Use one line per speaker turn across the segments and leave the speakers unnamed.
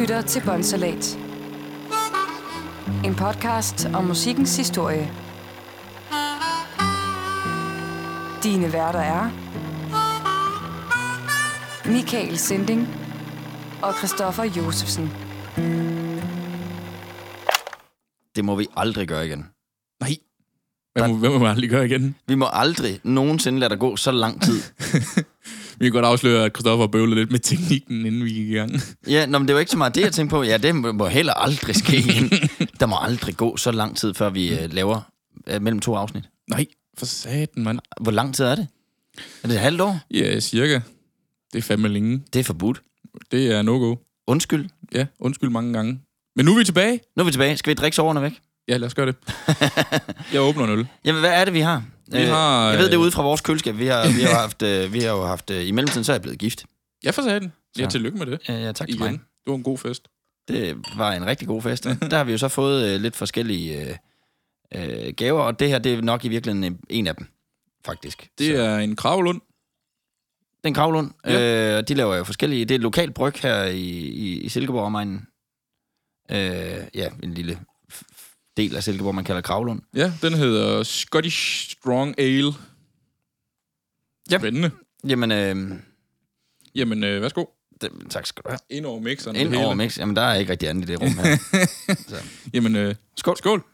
lytter til Bonsalat. En podcast om musikkens historie. Dine værter er... Michael Sinding og Christoffer Josefsen.
Det må vi aldrig gøre igen.
Nej. Hvad må, hvad må man lige gøre igen?
Vi må aldrig nogensinde lade der gå så lang tid.
Vi kan godt afsløre, at Christoffer bøvler lidt med teknikken, inden vi gik i gang.
ja, nå, men det var ikke så meget det, jeg tænkte på. Ja, det må heller aldrig ske igen. Der må aldrig gå så lang tid, før vi øh, laver øh, mellem to afsnit.
Nej, for satan, mand.
Hvor lang tid er det? Er det et halvt år?
Ja, cirka. Det er fandme længe.
Det er forbudt.
Det er no-go.
Undskyld.
Ja, undskyld mange gange. Men nu er vi tilbage.
Nu er vi tilbage. Skal vi drikke soverne væk?
Ja, lad os gøre det. Jeg åbner en øl.
Jamen, hvad er det, vi har?
Vi har,
jeg ved det
øh,
ude fra vores køleskab. Vi har, vi har, haft, øh, vi har jo haft... Øh, I mellemtiden så er jeg blevet gift.
Ja, for satan. Ja,
Så.
tillykke med det.
Ja, ja tak til
Igen.
mig.
Det var en god fest.
Det var en rigtig god fest. Der har vi jo så fået øh, lidt forskellige øh, øh, gaver, og det her det er nok i virkeligheden øh, en- en af dem, faktisk.
Det
så.
er en kravlund.
Den Kravlund, øh, de laver jo forskellige... Det er et lokalt bryg her i, i, i Silkeborg omegnen. Øh, ja, en lille f- f- del af Silkeborg, man kalder Kravlund.
Ja, den hedder Scottish Strong Ale.
Ja.
Spændende.
Jamen, øh,
Jamen, øh, værsgo.
det, tak skal du have.
Ind over mixeren.
Ind
det
over
hele.
mix. Jamen, der er ikke rigtig andet i det rum her.
Jamen, øh, skål. Skål.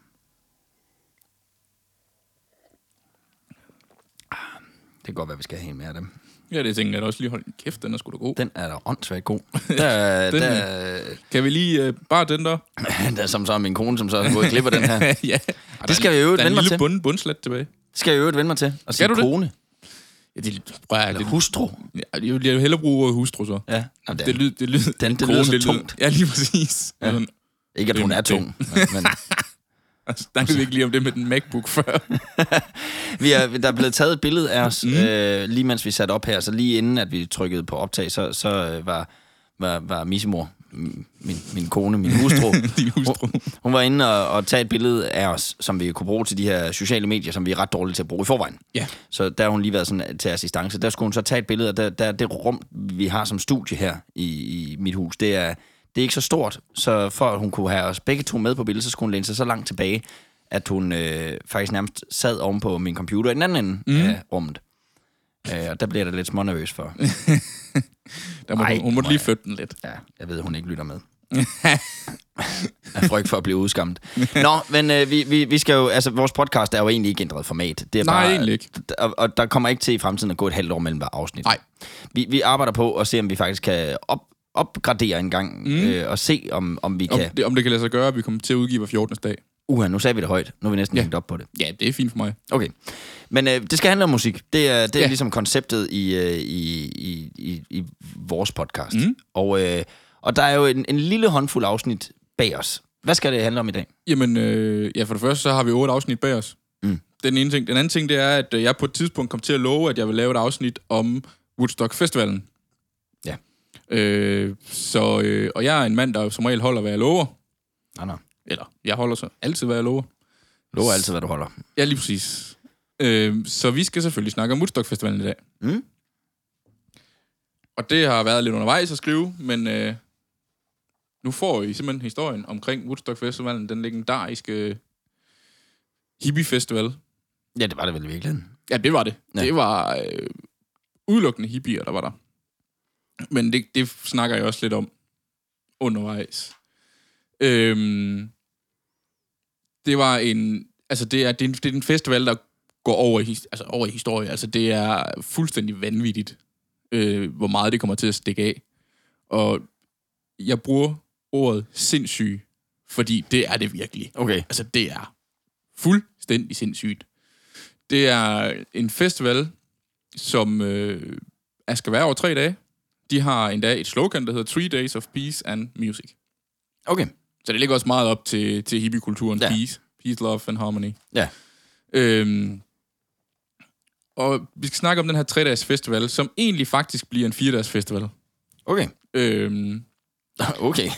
Det kan godt være, vi skal have en mere af dem.
Ja, det tænker jeg da også lige. Hold kæft, den er sgu da god.
Den er da åndssvagt god. Der,
Den,
den, der,
Kan vi lige øh, bare den der?
der, som så er min kone, som så er gået og klipper den her.
ja.
Det skal vi jo
Der er en
vende mig
lille
til.
bund, bundslat tilbage.
Det skal jeg i øvrigt vende mig til. Og sige
du det?
kone.
Ja, det, prøv, at-
Eller
det,
hustru.
ja, jeg vil jeg vil hellere bruge ordet hustru så.
Ja. Jamen, det er,
Det, lyd, det, lyd,
Den- det
kronen,
lyder så
lyder-
tungt.
Ja, lige præcis. Ja.
Ja.
Sådan,
ikke, at hun er
det-
tung. Men, men
altså, der kan vi ikke lige om det med den MacBook før.
vi er, der er blevet taget et billede af os, mm. øh, lige mens vi satte op her. Så lige inden, at vi trykkede på optag, så, så øh, var, var, var Missemor, m- min, min kone, min hustru,
Din hustru.
hun var inde og, og tage et billede af os, som vi kunne bruge til de her sociale medier, som vi er ret dårlige til at bruge i forvejen.
Ja.
Så der har hun lige været sådan til assistance. Der skulle hun så tage et billede, og der, der det rum, vi har som studie her i, i mit hus, det er, det er ikke så stort, så for at hun kunne have os begge to med på billedet, så skulle hun læne sig så langt tilbage, at hun øh, faktisk nærmest sad oven på min computer i den anden ende
Mhm.
mm. af rummet. Øh, og der bliver jeg da lidt smånervøs for.
Der må,
Ej,
Ej, hun måtte
må
lige
jeg-
flytte den lidt.
Ja, jeg ved, hun ikke lytter med. Af frygt for at blive udskamt. Nå, men øh, vi, vi, vi skal jo... Altså, vores podcast er jo egentlig ikke ændret format. Det er
Nej,
bare,
egentlig ikke.
Og, og der kommer ikke til i fremtiden at gå et halvt år mellem hver afsnit.
Nej.
Vi, vi arbejder på at se, om vi faktisk kan op, opgradere en gang, mm. øh, og se, om, om vi
Om,
kan...
det, om det kan lade sig gøre, at vi kommer til at udgive hver 14. dag.
Uha, nu sagde vi det højt. Nu er vi næsten
Ja.
hængt op på det.
Ja, det er fint for mig.
Okay. Men øh, det skal handle om musik. Det er, det er
Ja.
ja. ligesom konceptet i, øh, i, i, i, i vores podcast. Mm. Og, øh, og der er jo en, en lille håndfuld afsnit bag os. Hvad skal det handle om i dag?
Jamen, øh, ja, for det første, så har vi otte afsnit bag os.
Mm.
Den ene ting. Den anden ting, det er, at øh, jeg på et tidspunkt kom til at love, at jeg vil lave et afsnit om Woodstock Festivalen.
Ja.
Øh, så, øh, og jeg er en mand, der som regel holder, hvad jeg lover.
Nej, nej.
Eller, jeg holder så altid, hvad jeg lover.
Lover altid, hvad du holder.
Ja, lige præcis. Øh, så vi skal selvfølgelig snakke om Woodstock Festivalen i dag.
Mm.
Og det har været lidt undervejs at skrive, men øh, nu får I simpelthen historien omkring Woodstock Festivalen, den legendariske øh, hippie festival.
Ja, det var det vel i virkeligheden.
Ja, det var det. Ja.
Ja.
Det var øh, udelukkende hippier, der var der. Men det, det snakker jeg også lidt om undervejs. Øhm, det var en... Altså, det er, det, er en, det er en festival, der går over i, his- altså, over i historie. Altså, det er fuldstændig vanvittigt, øh, hvor meget det kommer til at stikke af. Og jeg bruger ordet sindssyg, fordi det er det virkelig.
Okay.
Altså, det er fuldstændig sindssygt. Det er en festival, som øh, er- skal være over tre dage. De har endda et slogan, der hedder Three Days of Peace and Music.
Okay.
Så det ligger også meget op til, til hippiekulturen. Ja.
Ja.
Peace, peace, love and harmony.
Ja.
Øhm, og vi skal snakke om den her tre-dages festival, som egentlig faktisk bliver en fire-dages festival.
Okay.
Øhm,
Okay.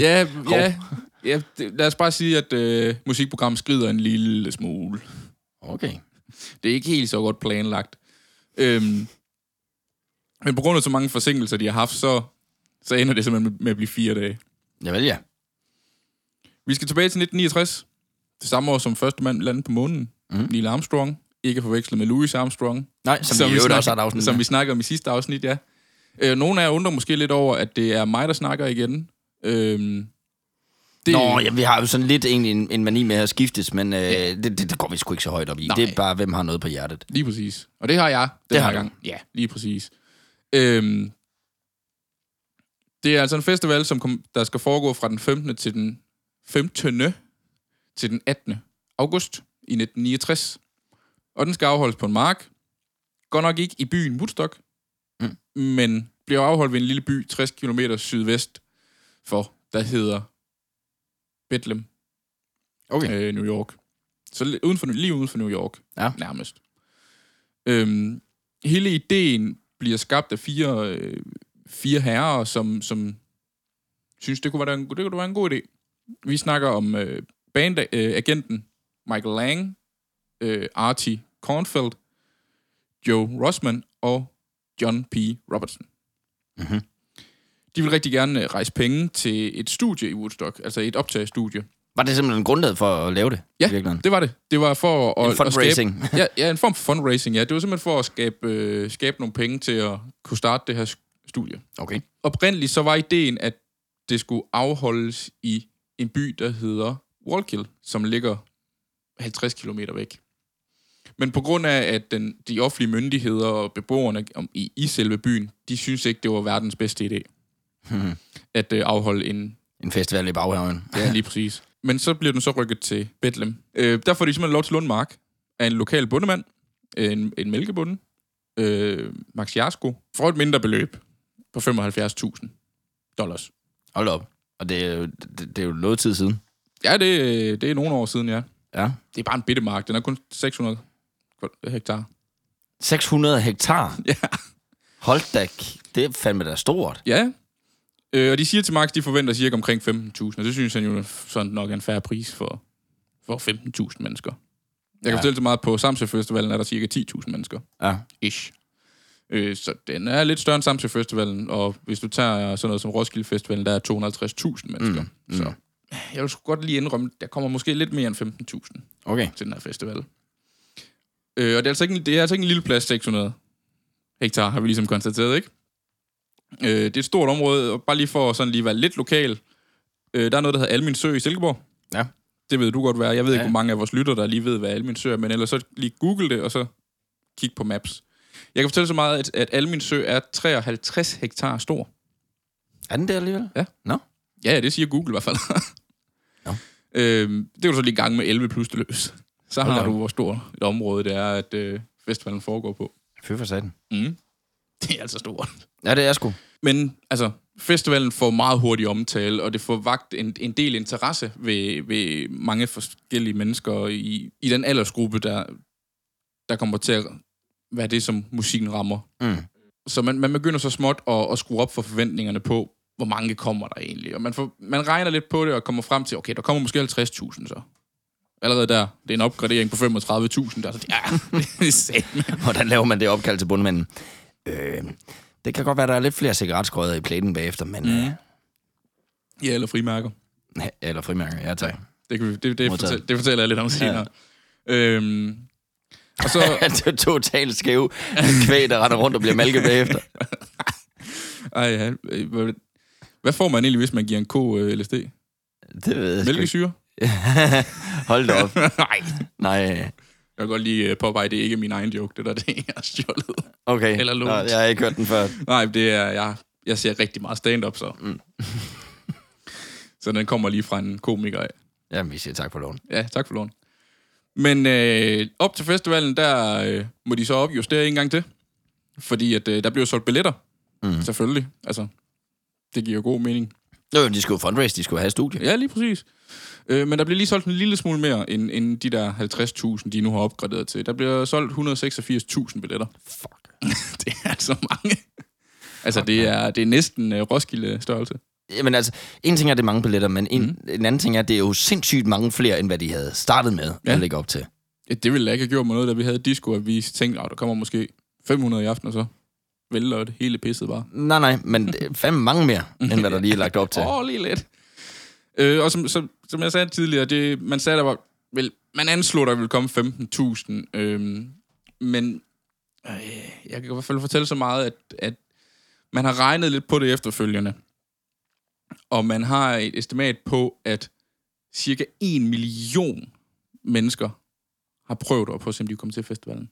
ja, ja, ja det, lad os bare sige, at øh, musikprogrammet skrider en lille smule.
Okay.
Det er ikke helt så godt planlagt. Øhm, men på grund af så mange forsinkelser, de har haft, så, så ender det simpelthen med, med at blive fire dage.
Javel, ja.
Vi skal tilbage til 1969. Det samme år som første mand landede på månen. Mm. Neil Armstrong. Ikke forvekslet med Louis Armstrong.
Nej, Mhm. som, som vi i øvrigt
snakker-
også har et afsnit.
Som
med.
vi snakkede om i sidste afsnit, ja. Øh, nogle af jer undrer måske lidt over, at det er mig, der snakker igen. Øhm, det,
Nå, ja, vi har jo sådan lidt egentlig en, en mani med at skiftes, men øh, det, det, det går vi sgu ikke så højt op i. Nej.
Nej.
Det er bare, hvem har noget på hjertet.
Lige præcis. Og det har jeg. Den
Det har
her
du.
Ja, lige præcis. Øhm, det er altså en festival, som kom, der skal foregå fra den 15. til den 15. til den 18. august i 1969. Og den skal afholdes på en mark. Godt nok ikke i byen Woodstock, mm. men bliver afholdt ved en lille by 60 km sydvest for, der hedder Bethlehem,
Okay.
øh, New York. Så li- uden for, lige uden for New York,
Ja.
nærmest. Øhm, hele ideen bliver skabt af fire, øh, fire herrer, som, som synes, det kunne, være en, det kunne være en god idé. Vi snakker om øh, bandagenten øh, agenten Michael Lang, øh, Artie Kornfeld, Joe Rossman og John P. Robertson.
Mhm.
De vil rigtig gerne øh, rejse penge til et studie i Woodstock, altså et optagestudie.
Var det simpelthen grundlaget for at lave det?
Ja,
i virkeligheden?
det var det. Det var for
En
at, at- at skabe...
fundraising.
Ja, ja, en form for fundraising, ja. Det var simpelthen for at skabe, øh, skabe nogle penge til at kunne starte det her sk- studie.
Okay.
Oprindeligt så var ideen, at det skulle afholdes i en by, der hedder Wallkill, som ligger 50 km væk. Men på grund af, at den, de offentlige myndigheder og beboerne om, i, i selve byen, de synes ikke, det var verdens bedste idé at øh, afholde en
En festival i baghaven.
Ja, lige præcis. Men så bliver den så rykket til Bethlehem. Øh, der får de simpelthen lov til Lundmark af en lokal bondemand, øh, en, en mælkebonde, øh, Max Jarsko, for et mindre beløb på 75.000 dollars.
Hold op. Og det er, jo, det, det er jo noget tid siden.
Ja, det, øh, det er nogle år siden, ja.
Ja.
Det er bare en bitte mark. Den er kun 600 kvadrat- hektar.
600 hektar.
Ja.
Hold da, k- det er fandme da stort.
Ja. Øh, og de siger til Max, de forventer cirka omkring 15.000, og det synes han jo sådan nok er en færre pris for, for 15.000 mennesker. Jeg kan
Ja.
ja. fortælle så meget, at på Samsø Festivalen er der cirka 10.000 mennesker.
Ja.
Ish. Øh, så den er lidt større end Samsø Festivalen, og hvis du tager sådan noget som Roskilde Festivalen, der er 250.000 mennesker. Mm, mm. Så jeg vil sgu godt lige indrømme, der kommer måske lidt mere end 15.000
Okay.
til den her festival. Øh, og det er, altså ikke, en- det er altså ikke en lille plads, 600 hektar, har vi ligesom konstateret, ikke? Øh, det er et stort område, og bare lige for sådan lige at være lidt lokal. Øh, der er noget, der hedder Almin Sø i Silkeborg.
Ja.
Det ved du godt, hvad er. Jeg ved ja.
Ja.
ikke, hvor mange af vores lytter, der lige ved, hvad Almin Sø er, men ellers så lige google det, og så kig på maps. Jeg kan fortælle så meget, at, at Almin Sø er 53 hektar stor.
Er den der alligevel?
Ja.
Nå?
Ja, ja, det siger Google i hvert fald.
Nå.
øhm, det kan du så lige gange med 11 plus det løs. Så
Hold da
har
op.
du, hvor stort et område det er, at øh, festivalen foregår på.
Fy for satan.
Mm. Det er altså stort.
Ja, det er sgu.
Men altså, festivalen får meget hurtig omtale, og det får vagt en, en del interesse ved, ved mange forskellige mennesker i, i den aldersgruppe, der, der kommer til at være det, som musikken rammer.
Mm.
Så man, man begynder så småt at, at skrue op for forventningerne på, hvor mange kommer der egentlig. Og man, får, man regner lidt på det og kommer frem til, okay, der kommer måske 50.000 så. Allerede der, det er en opgradering på 35.000. Der, så det er, det er satme.
Hvordan laver man det opkald til bundmanden? Øh, det kan godt være, der er lidt flere cigaretskrøder i pladen bagefter, men... Mm. Øh,
Ja, eller frimærker.
eller frimærker, ja tak.
Det, kan vi, det,
Modtaget.
det, fortæller, det fortæller jeg lidt om senere. Ja. Øhm, og så,
det er totalt skæv kvæg, der render rundt og bliver malket bagefter.
ej, ja, øh, hvad, hvad får man egentlig, hvis man giver en ko øh, LSD?
Det ved jeg sgu ikke.
Mælkesyre?
Hold da op.
Nej.
Nej,
Jeg kan godt lige øh, påpege, det er ikke min egen joke, det der, det er jeg har stjålet.
okay.
Eller lånt.
Nå, Jeg har ikke hørt den før.
Nej, det er, jeg, jeg ser rigtig meget stand-up, så. Mm. så den kommer lige fra en komiker af.
Jamen, vi siger tak for lån.
Ja, tak for lån. Men øh, op til festivalen, der øh, må de så opjustere en gang til. Fordi at, øh, der bliver solgt billetter.
Mhm.
Mm. Selvfølgelig. Altså, det giver jo god mening.
Jo, jo, de skulle jo fundraise, de skulle have studie.
Ja, lige præcis. Øh, men der bliver lige solgt en lille smule mere, end, end de der 50.000, de nu har opgraderet til. Der bliver solgt 186.000 billetter.
Fuck.
Det er altså mange. altså, det er, det er næsten øh, Roskilde-størrelse.
Jamen altså, en ting er, det er mange billetter, men en, mm. en anden ting er, det er jo sindssygt mange flere, end hvad de havde startet med ja.
Ja.
at lægge op til.
Ja, det ville jeg ikke have gjort med noget, da vi havde disco, at vi tænkte, at der kommer måske 500 i aften, og så vælter det hele pisset bare.
Nej, nej, men det er fandme mange mere, end hvad der lige er lagt op til.
Åh, oh, lige lidt. Øh, og som, som, som jeg sagde tidligere, det, man sagde, der var, vel, man anslog, der ville komme 15.000, øh, men øh, jeg kan i hvert fald fortælle så meget, at, at man har regnet lidt på det efterfølgende, og man har et estimat på, at cirka 1 million mennesker har prøvet at prøve, om de kunne komme til festivalen.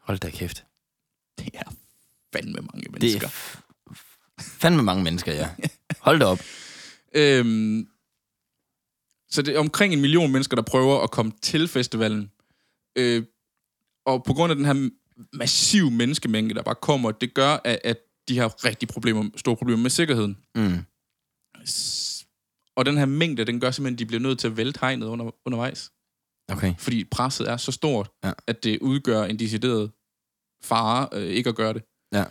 Hold da kæft.
Det er fandme mange mennesker.
Det er fandme mange mennesker, ja. Hold da op.
Øhm, så det er omkring en million mennesker, der prøver at komme til festivalen. Øh, og på grund af den her massive menneskemængde, der bare kommer, det gør, at, at de har rigtig problemer, store problemer med sikkerheden.
Mm.
S- Og den her mængde, den gør simpelthen, at de bliver nødt til at vælte hegnet under, undervejs.
Okay.
Fordi presset er så stort,
Ja.
ja. at det udgør en decideret fare øh, ikke at gøre det.
Ja.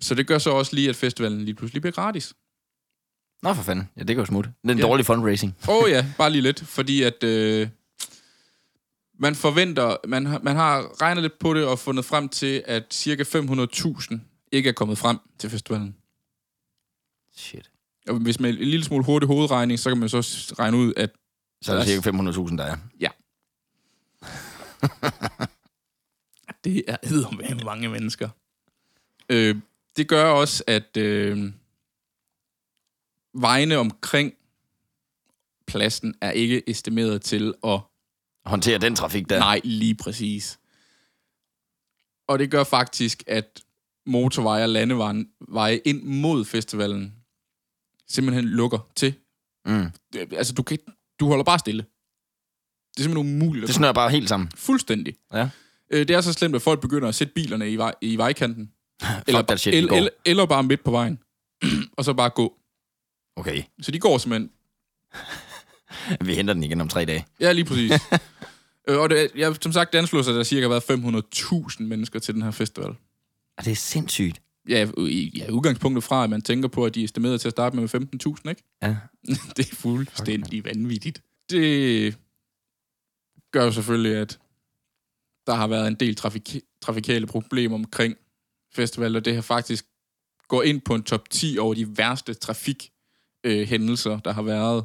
Så det gør så også lige, at festivalen lige pludselig bliver gratis.
Nå for fanden. Ja, det går smut. Det er en
Ja.
dårlig fundraising.
Åh oh, ja, bare lige lidt, fordi at øh, man forventer, man, har- man har regnet lidt på det og fundet frem til, at cirka 500.000 ikke er kommet frem til festivalen.
Shit.
Og hvis man en lille smule hurtig hovedregning, så kan man så s- regne ud, at
Så er der cirka 500.000, der er.
det er eddermame mange mennesker. Øh, det gør også, at øh, vejene omkring pladsen er ikke estimeret til at
Håndtere den trafik der.
Ja. Nej, lige præcis. Og det gør faktisk, at motorveje og landeveje veje ind mod festivalen simpelthen lukker til.
Mm.
Det- Altså, du, kan, ikke- du holder bare stille. Det er simpelthen umuligt.
Det
Det...
snører bare helt sammen.
Fuldstændig.
Ja.
Øh, Det er så slemt, at folk begynder at sætte bilerne i, vej, i vejkanten.
Eller, Fuck that shit,
eller,
eller,
eller, eller bare midt på vejen. og så bare gå.
Okay,
Så de går simpelthen
vi henter den igen om tre dage.
Ja, lige præcis. øh, og det, er- ja, som sagt, det anslås, at der cirka har været 500.000 mennesker til den her festival.
Og Ah, det er sindssygt.
Ja, i, ja, udgangspunktet fra, at man tænker på, at de er estimeret til at starte med 15.000, ikke?
Ja.
det er fuldstændig vanvittigt. Det gør jo selvfølgelig, at der har været en del trafik- trafikale problemer omkring festivaler, og det her faktisk går ind på en top 10 over de værste trafikhændelser, der har været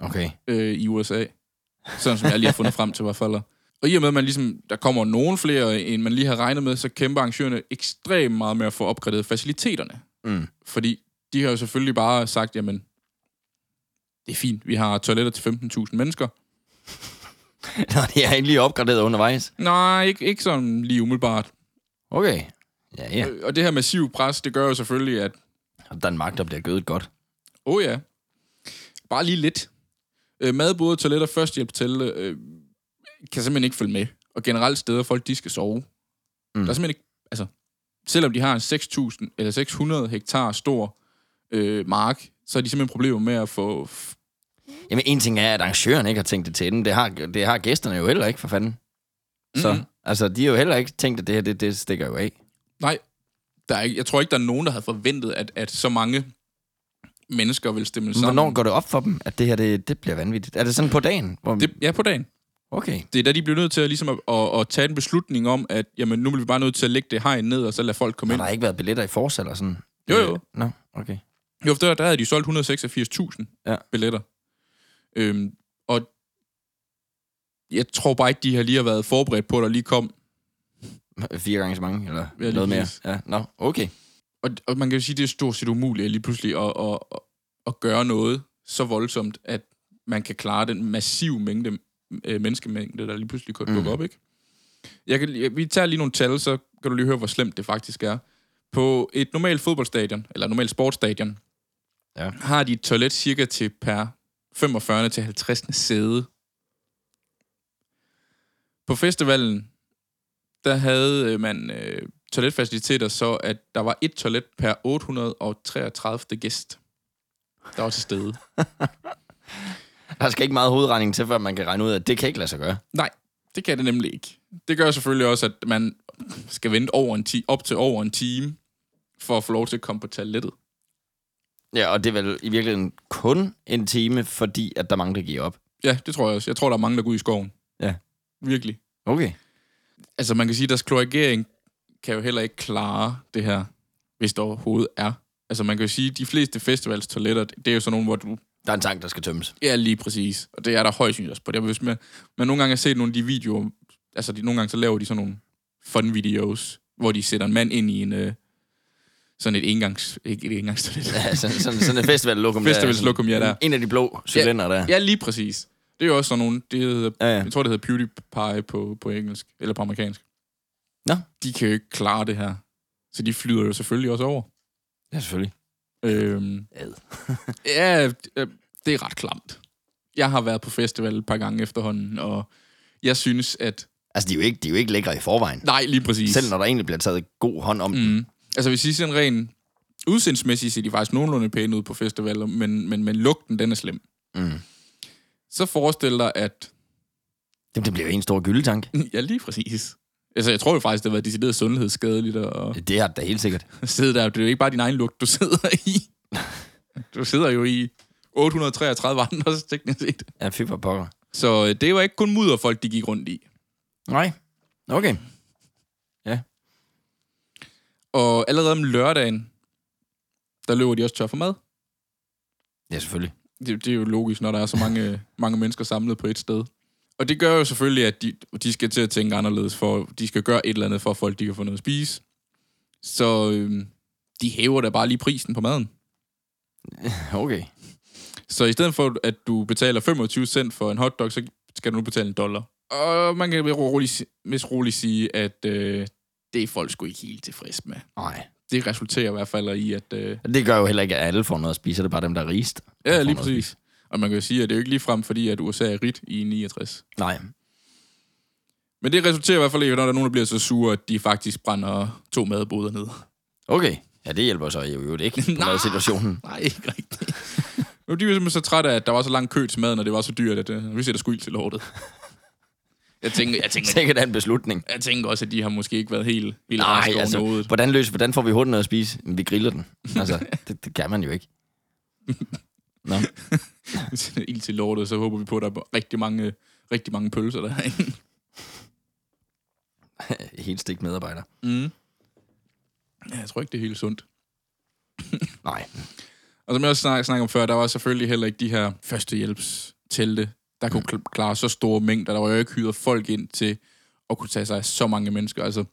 Okay.
øh, i USA. Sådan som jeg lige har fundet frem til i hvert fald. Og i og med, at man ligesom, der kommer nogen flere, end man lige har regnet med, så kæmper arrangørerne ekstremt meget med at få opgraderet faciliteterne.
Mm.
Fordi de har jo selvfølgelig bare sagt, jamen, det er fint, vi har toiletter til 15.000 mennesker.
Nå, det er ikke lige opgraderet undervejs.
Nej, ikke, ikke sådan lige umiddelbart.
Okay. Ja, ja.
Øh, Og det her massive pres, det gør jo selvfølgelig, at
Og Danmark, der bliver gødet godt.
Åh oh, ja. Bare lige lidt. Øh, madboder, toiletter, førstehjælp til, øh, kan simpelthen ikke følge med. Og generelt steder, folk de skal sove. Mm. Der er simpelthen ikke, altså, selvom de har en 6.000 eller 600 hektar stor øh, mark, så har de simpelthen problemer med at få... f-
Jamen, en ting er, at arrangøren ikke har tænkt det til den. Det har, det har gæsterne jo heller ikke, for fanden. Så,
Mhm.
altså, de har jo heller ikke tænkt, at det her, det, det stikker jo af.
Nej, der er ikke, jeg tror ikke, der er nogen, der havde forventet, at, at så mange mennesker vil stemme
Men
sammen.
Hvornår går det op for dem, at det her, det, det bliver vanvittigt? Er det sådan på dagen? Hvor,
det, ja, på dagen.
okay.
Det er da, de bliver nødt til at, ligesom at, at, at tage en beslutning om, at jamen, nu bliver vi bare nødt til at lægge det hegn ned, og så lade folk komme
Men
ind.
der har ikke været billetter i forsal eller sådan?
Jo,
Det-
jo.
Nå, okay.
Jo, for der, der havde de solgt 186.000
Ja.
ja. billetter. Øhm, og jeg tror bare ikke, de har lige har været forberedt på, at der lige kom.
Fire gange så mange, eller
lige
noget mere.
præcis.
Ja, nå, okay.
Og, og man kan jo sige, at det er stort set umuligt lige pludselig at, at, at, at gøre noget så voldsomt, at man kan klare den massive mængde øh, menneskemængde, der lige pludselig kan
Mm.
dukke op, ikke? Jeg kan, jeg, vi tager lige nogle tal, så kan du lige høre, hvor slemt det faktisk er. På et normalt fodboldstadion, eller normalt sportsstadion,
Ja.
har de et toilet cirka til per 45. til 50. sæde. På festivalen, der havde øh, man øh, toiletfaciliteter, så at der var et toilet per 833. gæst, der var til stede.
Der skal ikke meget hovedregning til, før man kan regne ud, at det kan ikke lade sig gøre.
Nej, det kan det nemlig ikke. Det gør selvfølgelig også, at man skal vente over en ti- op til over en time, for at få lov til at komme på toilettet.
Ja, og det er vel i virkeligheden kun en time, fordi at der er mange, der giver op.
Ja, det tror jeg også. Jeg tror, der er mange, der går ud i skoven.
Ja.
Virkelig.
Okay.
Altså, man kan sige, at deres kloagering kan jo heller ikke klare det her, hvis der overhovedet er. Altså, man kan jo sige, at de fleste festivalstoiletter, det er jo sådan nogle, hvor du
Der er en tank, der skal tømmes.
Ja, lige præcis. Og det er der højst sandsynligt også på det. Hvis man, man nogle gange har set nogle af de videoer, altså de, nogle gange så laver de sådan nogle fun videos, hvor de sætter en mand ind i en, øh, sådan et engangs, ikke et engangstoilet.
Ja, sådan, sådan, sådan et festivallokum. der er sådan
Festivalslokum, ja, der.
En af de blå cylinder der.
Ja, lige præcis. Det er jo også sådan nogle, det hedder,
Ja,
ja,
ja.
ja. jeg tror, det hedder PewDiePie på, på engelsk, eller på amerikansk.
Nå.
De kan jo ikke klare det her. Så de flyder jo selvfølgelig også over.
ja selvfølgelig.
Øhm,
Ad.
ja, øh, det er ret klamt. Jeg har været på festival et par gange efterhånden, og jeg synes, at...
Altså, de er jo ikke, de er jo ikke lækre i forvejen.
Nej, lige præcis.
Selv når der egentlig bliver taget god hånd om mm.
Mm. Altså, hvis I sådan rent udseendsmæssigt ser de faktisk nogenlunde pæne ud på festivaler, men, men, men lugten, den er slem.
Mm.
Så forestil dig, at...
Jamen, det bliver jo en stor gyldetank.
Ja, lige præcis. Altså, jeg tror jo faktisk, det har været decideret sundhedsskadeligt at
Det har det da helt sikkert.
sidde der. Det er jo ikke bare din egen lugt, du sidder i. Du sidder jo i 833 andre, teknisk set.
Ja, fy for pokker.
Så øh, det var ikke kun mudder, folk de gik rundt i.
Nej. Okay.
Og allerede om lørdagen, der løber de også tør for mad.
Ja, selvfølgelig.
Det, det er jo logisk, når der er så mange, mange mennesker samlet på et sted. Og det gør jo selvfølgelig, at de, de skal til at tænke anderledes, for de skal gøre et eller andet, for at folk de kan få noget at spise. Så øhm, de hæver da bare lige prisen på maden.
Okay.
Så i stedet for, at du betaler 25 cent for en hotdog, så skal du nu betale en dollar. Og man kan vist roligt, si- vist roligt sige, at øh, det er folk sgu ikke helt tilfredse med.
Nej.
Det resulterer i hvert fald i, at... Øh,
Det gør jo heller ikke, at alle får noget at spise. Det er bare dem, der er rigest. der
ja,
får
lige
noget at spise.
præcis. Og man kan jo sige, at det er jo ikke ligefrem, fordi at USA er rigt i 69.
Nej.
Men det resulterer i hvert fald i, at når der er nogen, der bliver så sure, at de faktisk brænder to madboder ned.
Okay. Ja, det hjælper så jo jo ikke på
Nej.
situationen.
Nej, ikke rigtigt. Nu er de jo simpelthen så trætte af, at der var så lang kø til maden, og det var så dyrt, at øh, vi sætter skyld til lortet. Jeg tænker, jeg, tænker,
Sikkert er en beslutning.
jeg tænker også, at de har måske ikke været helt, helt
Nej,
raske over
altså,
noget.
hvordan, løs, hvordan får vi hurtigt noget at spise? Jamen, vi griller den. Altså, det, det kan man jo ikke. Nå.
Sætter ild til lortet, så håber vi på, at der er rigtig mange, rigtig mange pølser derinde.
Helt stik medarbejder.
Mm. Ja, jeg tror ikke, det er helt sundt.
Nej.
Og som jeg også snak, snakkede om før, der var selvfølgelig heller ikke de her førstehjælpstelte, der kunne kl- klare så store mængder. Der var jo ikke hyret folk ind til at kunne tage sig af så mange mennesker. Altså,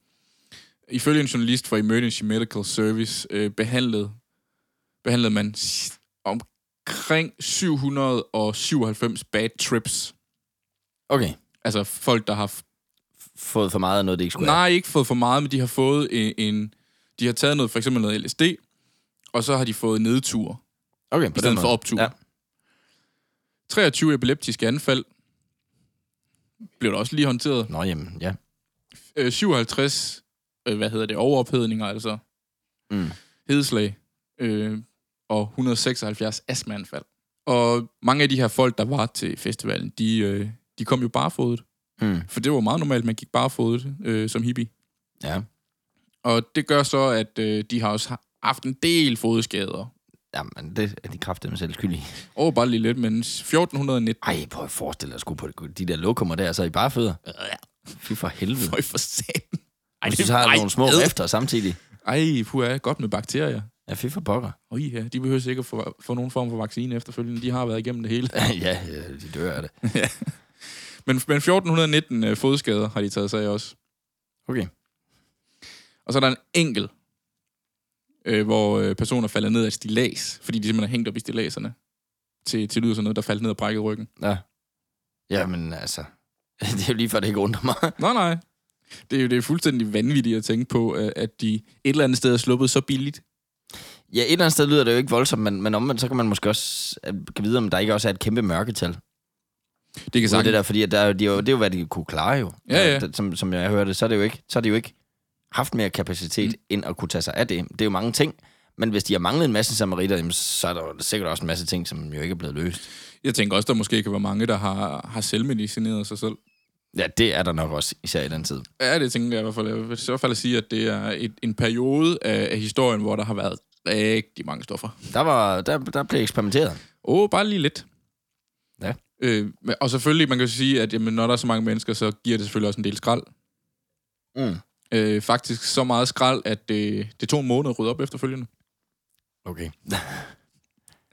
ifølge en journalist fra Emergency Medical Service øh, behandlede, behandlede man s- omkring 797 bad trips.
Okay.
Altså folk, der har... F-
Fået for meget af noget, det ikke skulle
nej, ikke fået for meget, men de har fået en... en de har taget noget, for eksempel noget LSD, og så har de fået nedtur.
have. Okay, på
i stedet
den
for
måde.
optur.
Ja.
23 epileptiske anfald blev der også lige håndteret.
Nå, jamen, ja.
Øh, 57, øh, hvad hedder det, overophedninger altså,
Mm.
hedeslag, øh, og 176 astmaanfald. Og mange af de her folk, der var til festivalen, de, øh, de kom jo barefodet.
Mm.
For det var meget normalt, man gik barefodet øh, som hippie.
Ja.
Og det gør så, at øh, de har også haft en del fodskader.
Jamen, det er de kraftedeme selv skyldige.
Over bare lige lidt, men 1419
Ej, prøv at forestille dig at skulle på det- de der lokummer der, så er I bare fødder. Fy for helvede.
Føj for satan.
Ej, det, så har jeg nogle små efter samtidig.
Ej, puha, godt med bakterier.
Ja, fy for pokker.
Og I her, de behøver sikkert få, få nogen form for vaccine efterfølgende. De har været igennem det hele.
ja, ja, de dør af det.
Men, men 1419 øh, fodskader har de taget sig af også.
Okay.
Og så er der en enkel, øh, hvor øh, personer falder ned af et stilas, fordi de simpelthen er hængt op i stilaserne til, til lyd og sådan noget, der faldt ned og brækkede ryggen.
Ja. Jamen, altså. Det er jo lige før, det ikke undrer mig.
Nej, nej. Det er jo det er fuldstændig vanvittigt at tænke på, øh, at de et eller andet sted er sluppet så billigt.
Ja, et eller andet sted lyder det jo ikke voldsomt, men, men omvendt, så kan man måske også øh, kan vide, om der ikke også er et kæmpe mørketal.
Det kan
Det er
sagtens
det der, fordi at der, er jo- det, er jo, det er jo, hvad de kunne klare jo.
Ja, ja.
Det- Som, som jeg hørte, så er det jo ikke, så er det jo ikke haft mere kapacitet, mm. end at kunne tage sig af det. Det er jo mange ting, men hvis de har manglet en masse samaritter, jamen, så er der jo sikkert også en masse ting, som jo ikke er blevet løst.
Jeg tænker også, der måske kan være mange, der har, har selvmedicineret sig selv.
Ja, det er der nok også, især i den tid.
Ja, det tænker jeg i hvert fald. Jeg vil i så fald sige, at det er et, en periode af, af historien, hvor der har været rigtig mange stoffer.
Der, var, der, der blev eksperimenteret.
Åh, oh, bare lige lidt.
Ja.
Øh, men- og selvfølgelig, man kan jo sige, at jamen, når der er så mange mennesker, så giver det selvfølgelig også en del skrald.
Mm.
Øh, faktisk så meget skrald, at det, det tog en måned at rydde op efterfølgende.
Okay.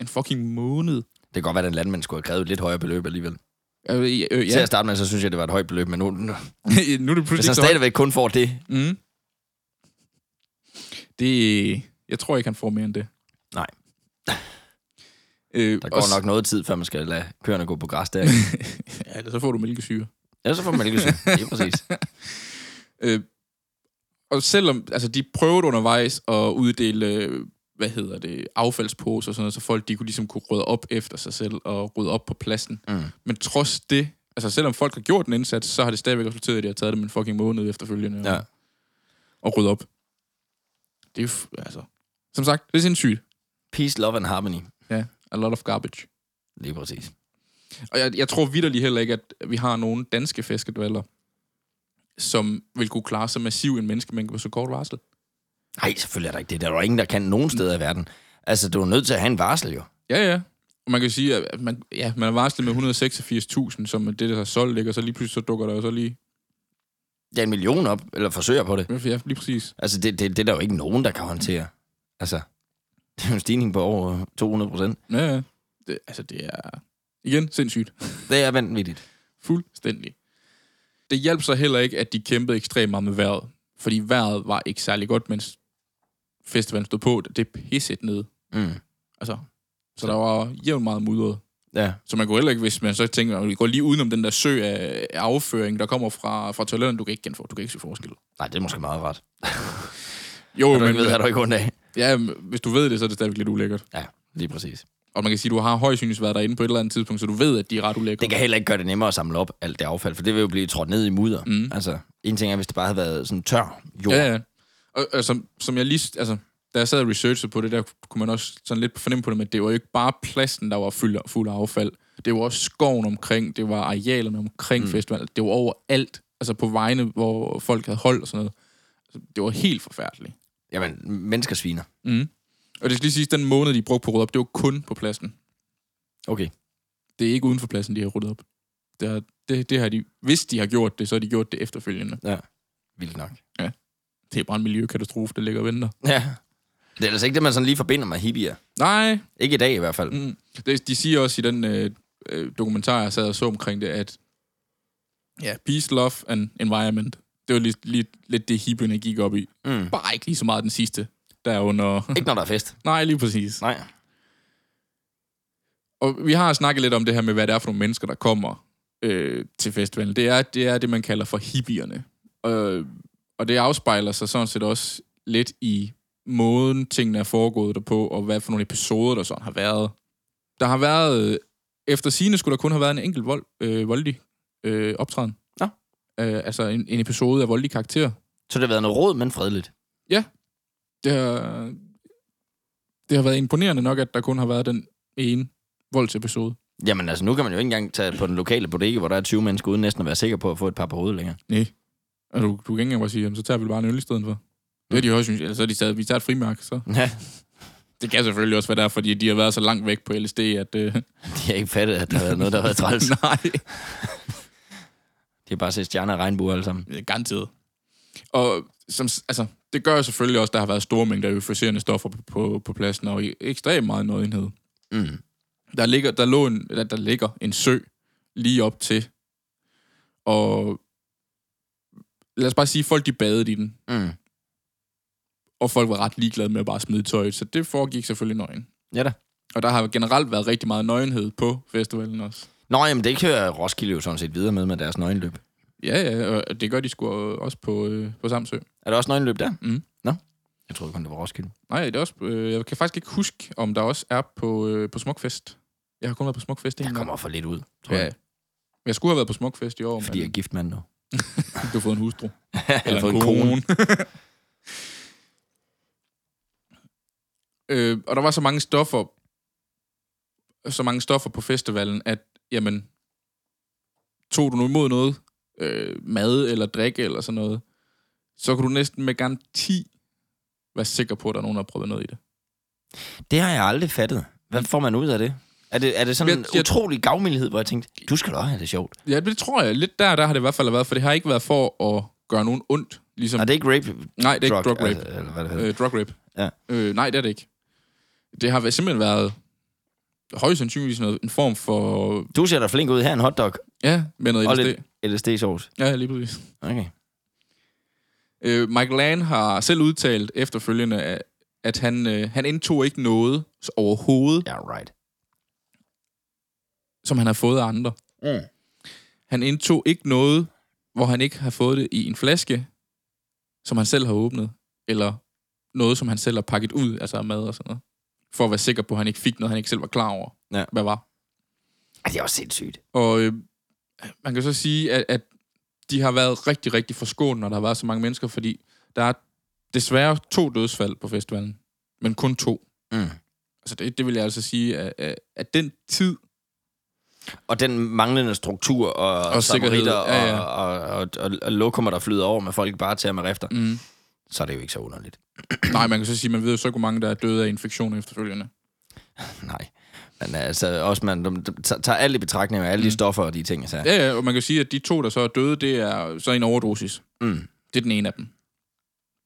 En fucking måned.
Det kan godt være, at den landmand skulle have krævet et lidt højere beløb alligevel. Ja.
Øh, øh,
Til
ja.
at starte med, så synes jeg, det var et højt beløb, men nu, nu
nu er det
hvis
pludselig
han
ikke så højt.
stadigvæk kun får det...
Mm. Det, jeg tror ikke, han får mere end det.
Nej.
Øh,
Der går nok noget tid, før man skal lade køerne gå på græs der.
Ja, eller så får du mælkesyre.
Ellers så får man ikke Det er præcis.
Øh, og selvom altså, de prøvede undervejs at uddele, øh, hvad hedder det, affaldsposer og sådan noget, så folk de kunne ligesom kunne rydde op efter sig selv og rydde op på pladsen.
Mm.
Men trods det, altså selvom folk har gjort en indsats, så har det stadigvæk resulteret i, at det har taget dem en fucking måned efterfølgende
Ja.
og, og rydde op. Det er jo, f- altså, som sagt, det er sindssygt.
Peace, love and harmony.
Ja, a lot of garbage.
Lige præcis.
Og jeg, jeg tror vidderlig heller ikke, at vi har nogen danske fiskedvaller, som vil kunne klare så massiv en menneskemængde på så kort varsel.
Nej, selvfølgelig er der ikke det. Der er jo ingen, der kan nogen steder i verden. Altså, du er nødt til at have en varsel, jo.
Ja, ja. Og man kan sige, at man, ja, man er varslet med 186.000, som er det, der er solgt, ikke? og så lige pludselig så dukker der jo så lige...
Det er en million op, eller forsøger på det.
Ja, lige præcis.
Altså, det, det, det er der jo ikke nogen, der kan håndtere. Altså, det er jo en stigning på over 200 procent.
Ja, ja. Det, altså, det er... Igen, sindssygt.
Det er vanvittigt.
Fuldstændig. Det hjalp så heller ikke, at de kæmpede ekstremt meget med vejret. Fordi vejret var ikke særlig godt, mens festivalen stod på. Det pisset ned.
Mm.
Altså, så der var jævnt meget mudret.
Ja.
Så man kunne heller ikke, hvis man så tænker, at vi går lige udenom den der sø af af afføring, der kommer fra, fra toiletterne, du kan ikke genfor, du kan ikke se forskel.
Nej, det er måske meget ret.
Jo,
Har du ikke ved, har du ikke ondt af.
ja, men hvis du ved det, så er det stadigvæk lidt ulækkert.
Ja, lige præcis.
Og man kan sige, at du har højst sandsynligt været derinde på et eller andet tidspunkt, så du ved, at de er ret ulækre.
Det kan heller ikke gøre det nemmere at samle op alt det affald, for det vil jo blive trådt ned i mudder.
Mm.
Altså, en ting er, hvis det bare havde været sådan tør jord.
Ja, ja. Og, og som, som jeg lige... Altså, da jeg sad og researchede på det, der kunne man også sådan lidt fornemme på det, men det var jo ikke bare pladsen, der var fuld, fuld af affald. Det var også skoven omkring, det var arealerne omkring mm. festivalen, det var overalt, altså på vejene, hvor folk havde holdt og sådan noget. Altså, Det var helt forfærdeligt.
Jamen, mennesker sviner.
Mm. Og det skal lige siges, den måned, de brugte på at rydde op, det var kun på pladsen.
Okay.
Det er ikke uden for pladsen, de har ryddet op. Det, er, det, det har de, hvis de har gjort det, så har de gjort det efterfølgende.
Vildt nok.
Det er bare en miljøkatastrofe, der ligger og venter.
Ja. Det er altså ikke det, man sådan lige forbinder med hippier.
Nej,
Ikke i dag i hvert fald.
Mm. Det, de siger også i den øh, øh, dokumentar, jeg sad og så omkring det, at ja, peace, love and environment, det var lige, lige, lidt det hippene gik op i.
Mm.
Bare ikke lige så meget den sidste, der er under...
Ikke når der er fest.
Nej, lige præcis.
Nej.
Og vi har snakket lidt om det her med, hvad det er for nogle mennesker, der kommer øh, til festivalen. Det er, det er det, man kalder for hippierne. Øh, og det afspejler sig sådan set også lidt i måden, tingene er foregået derpå, og hvad for nogle episoder, der sådan har været. Der har været, øh, efter sine skulle der kun have været en enkelt vold, øh, voldelig øh, optræden.
Nå.
Øh, altså en, en episode af voldelig karakter.
Så det har været noget råd, men fredeligt.
Det har, det har været imponerende nok, at der kun har været den ene voldsepisode.
Jamen altså, nu kan man jo ikke engang tage på den lokale bodega, hvor der er 20 mennesker, uden næsten at være sikker på at få et par på hovedet længere.
Nej. Og Altså, du, du kan ikke engang bare sige, jamen, så tager vi bare en øl i stedet for. Det er de også, synes jeg. Eller så er de taget, vi tager et frimærke, så.
Ja,
Det kan selvfølgelig også være der, fordi de har været så langt væk på LSD, at... Øh,
de har ikke fattet, at der har været noget, der har været træls.
nej,
De har bare set stjerner og regnbuer alle sammen.
det er garanteret. Og som, s- altså, det gør jo selvfølgelig også, at der har været store mængder af euforiserende stoffer på, på, på pladsen, og i- ekstremt meget nøgenhed.
Mm.
Der ligger, der, lå en, der, der ligger en sø lige op til, og lad os bare sige, folk de badede i den.
Mm.
og folk var ret ligeglade med at bare smide tøjet, så det foregik selvfølgelig nøgen.
Ja da.
Og der har generelt været rigtig meget nøgenhed på festivalen også.
Nå, jamen det kører Roskilde jo sådan set videre med med deres nøgenløb.
Ja, ja, og det gør de sgu også på, øh, på Samsø.
Er der også nøgenløb der?
Mm.
Nå, jeg troede kun, det var Roskilde.
Nej, det er også, øh, jeg kan faktisk ikke huske, om der også er på, øh, på Smukfest. Jeg har kun været på Smukfest en
Jeg
gang.
kommer for lidt ud, tror
Ja.
jeg.
Jeg skulle have været på Smukfest i år,
Fordi jeg
men
er gift mand nu.
du har fået en hustru.
jeg har fået en kone.
øh, og der var så mange stoffer, så mange stoffer på festivalen, at jamen, tog du nu imod noget, øh, mad eller drikke eller sådan noget, så kunne du næsten med garanti være sikker på, at der er nogen, der har prøvet noget i det.
Det har jeg aldrig fattet. Hvad får man ud af det? Er det, er det sådan
Jeg-
en
jeg-
utrolig gavmildhed, hvor jeg tænkte, du skal da også have det sjovt.
Ja, det tror jeg. Lidt der, der har det i hvert fald været, for det har ikke været for at gøre nogen ondt. Ligesom,
Er det ikke rape?
nej, det er ikke drug rape.
Altså, eller hvad det hedder.
Øh, drug rape.
Ja.
Øh, nej, det er det ikke. Det har væ- simpelthen været højst sandsynligvis noget, en form for...
Du ser da flink ud her, en hotdog.
Ja, med noget
Og
LSD.
lidt LSD-sovs.
Ja, lige præcis.
Okay.
Øh, Michael Land har selv udtalt efterfølgende, at- at han, øh, han indtog ikke noget overhovedet,
Ja, right.
som han har fået af andre.
Mm.
Han indtog ikke noget, hvor han ikke har fået det i en flaske, som han selv har åbnet, eller noget, som han selv har pakket ud, altså af mad og sådan noget, for at være sikker på, at han ikke fik noget, han ikke selv var klar over,
Ja.
hvad var.
Ej, det er også sindssygt.
Og øh, man kan så sige, at, at de har været rigtig, rigtig forskånet, når der har været så mange mennesker, fordi der er desværre to dødsfald på festivalen, men kun to.
Mm.
Altså det, det vil jeg altså sige, at, at, at den tid,
Og den manglende struktur og,
Og sikkerhed,
samaritter
ja, ja.
Og, og, og, og, og lokummer, der flyder over med folk bare til at efter, mm.
mm,
så er det jo ikke så underligt.
nej, man kan så sige, man ved jo så ikke, hvor mange, der er døde af infektioner efterfølgende.
Nej. Men altså, også man de- de- tager- tager alt i betragtning af alle mm. de stoffer og de ting, jeg sagde.
Ja, ja, og man kan sige, at de to, der så er døde, det er så en overdosis.
Mm.
Det er den ene af dem.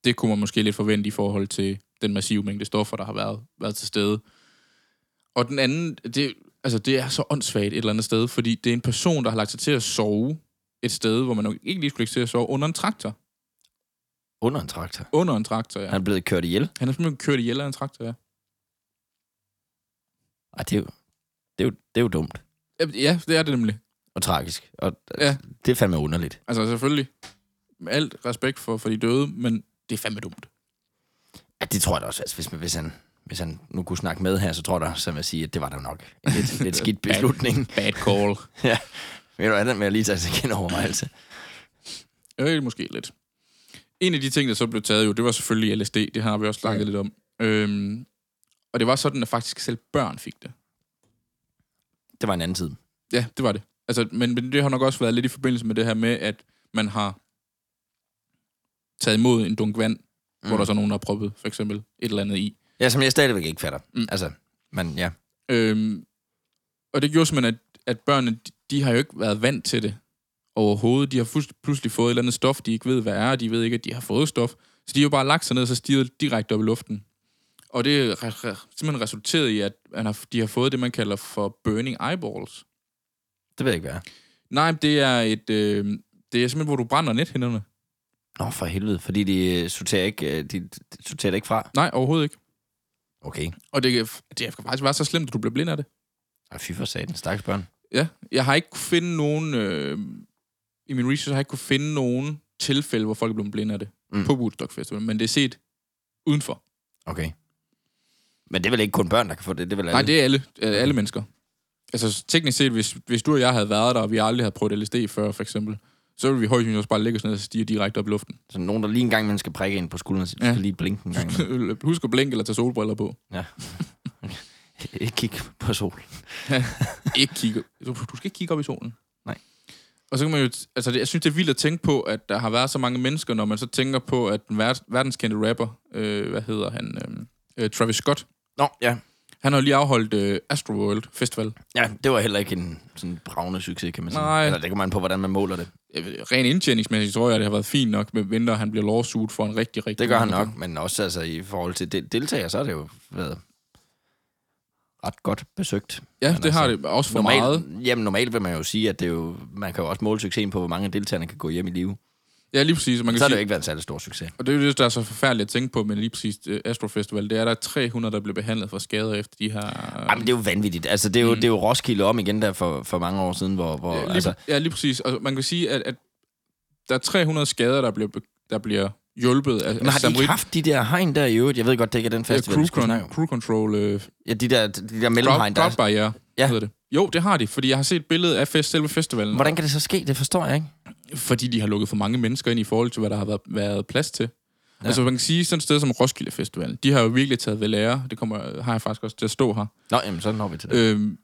Det kunne man måske lidt forvente i forhold til den massive mængde stoffer, der har været, været til stede. Og den anden, det, altså, det er så åndssvagt et eller andet sted, fordi det er en person, der har lagt sig til at sove et sted, hvor man nok ikke lige skulle lægge sig til at sove, under en traktor.
Under en traktor.
Under en traktor, ja.
Han er blevet kørt ihjel.
Han er simpelthen kørt ihjel af en traktor, ja.
Ej, det er jo, det er jo, det er jo dumt
Ja, Ja, det er det nemlig.
og tragisk. Og
Ja.
ja. det er fandme underligt.
Altså selvfølgelig, med alt respekt for, for de døde, men det er fandme dumt.
Ja, det tror jeg da også. Altså, hvis, man, hvis, han, hvis han nu kunne snakke med her, så tror jeg da, som jeg siger, at det var da nok en lidt, lidt skidt beslutning.
Bad call.
ja. Ved du andet med at lige tage sig igen over mig, altså.
Øh, måske lidt. En af de ting, der så blev taget jo, det var selvfølgelig LSD. Det har vi også snakket ja. lidt om. Øhm, og det var sådan, at faktisk selv børn fik det.
Det var en anden tid.
Ja, det var det. Altså, men, men det har nok også været lidt i forbindelse med det her med, at man har taget imod en dunk vand, mm. hvor der så er nogen, der har proppet for eksempel et eller andet i.
Ja, som jeg stadigvæk ikke fatter.
Mm.
Mm. Altså, men ja.
Øhm, og det gjorde simpelthen, at, at børnene, de, de har jo ikke været vant til det overhovedet. De har fuldst- pludselig fået et eller andet stof, de ikke ved, hvad er, og de ved ikke, at de har fået stof. Så de har jo bare lagt sig ned og så stirret direkte op i luften. Og det er re- re- simpelthen resulteret i, at han har, de har fået det, man kalder for burning eyeballs.
Det ved jeg ikke, hvad er.
Nej, men det er et... Øh, det er simpelthen, hvor du brænder nethinderne.
Nå, for helvede. Fordi de øh, sorterer ikke, øh, de, de sorterer det ikke fra.
Nej, overhovedet ikke.
Okay.
Og det, kan- det kan faktisk være så slemt, at du bliver blind af det.
Ej, fy for satan. Stakkes børn.
Ja, jeg har ikke kunne finde nogen... Øh, I min research har jeg ikke kunne finde nogen tilfælde, hvor folk er blevet blinde af det. Mm.
Mm.
På Woodstock Festival, men det er set udenfor.
Okay. Men det er vel ikke kun børn, der kan få det? Det er vel
Nej,
alle?
det er alle, øh, alle mennesker. Altså teknisk set, hvis, hvis du og jeg havde været der, og vi aldrig havde prøvet LSD før, for eksempel, så ville vi højst sandsynligt også bare lægge os ned og stige direkte op i luften.
Så nogen, der lige en gang, man skal prikke ind på skulderen, og sige, du
Ja.
skal lige blinke en gang. imellem."
Husk at blinke eller tage solbriller på.
ikke kigge på sol.
ikke kigge. Du, du skal ikke kigge op i solen.
Nej.
Og så kan man jo, altså det, jeg synes, det er vildt at tænke på, at der har været så mange mennesker, når man så tænker på, at den ver- verdenskendte rapper, øh, hvad hedder han, øhm, øh, Travis Scott,
Nå, ja.
han har jo lige afholdt øh, Astroworld Festival.
Ja, det var heller ikke en sådan bravende succes, kan man sige.
Nej.
Eller det kommer an på, hvordan man måler det.
Jeg ved, Ren Øh, indtjeningsmæssigt tror jeg, det har været fint nok, med vinter, han bliver lawsuit for en rigtig, rigtig...
Det gør han
mange
nok, men også altså, i forhold til de- deltagere, så har det jo været ret godt besøgt.
penge. Ja,
Men
det har
altså,
det også for
normalt,
meget.
Jamen, normalt vil man jo sige, at det er jo, man kan jo også måle succesen på, hvor mange af deltagerne kan gå hjem i live.
Ja, lige præcis. og Man kan
Så har
sige,
det jo ikke været en særlig stor succes.
Og det er jo det, der er så forfærdeligt at tænke på med lige præcis øh, Astro Festival. Det er, at der er 300, der blev behandlet for skader efter de her... øh,
Jamen, det er jo vanvittigt. Altså, det er jo,
Mm.
mm. det er jo Roskilde om igen der for, for mange år siden, hvor... hvor
Ja, lige,
altså,
altså... ja, lige præcis. Og man kan sige, at, at der er 300 skader, der bliver, der bliver hjulpet af,
men
af
har de ikke haft de der hegn der i øvrigt? Jeg ved godt, det ikke er den
ja,
festival, vi
crew,
skal snakke
con-
om.
crew control øh,
Ja, de der, de der mellemhegn
crowd,
der.
crowd
er-
barriere, ja.
Ja.
hedder det. Jo, det har de, fordi jeg har set et billede af fest, selve festivalen.
Hvordan kan det så ske? Det forstår jeg ikke.
Fordi de har lukket for mange mennesker ind i forhold til, hvad der har været, været plads til. Ja.
Ja.
Altså man kan sige, sådan et sted som Roskilde Festivalen, de har jo virkelig taget ved lære. Det kommer, har jeg faktisk også til at stå her.
Nå, jamen, så når vi til det.
Øhm,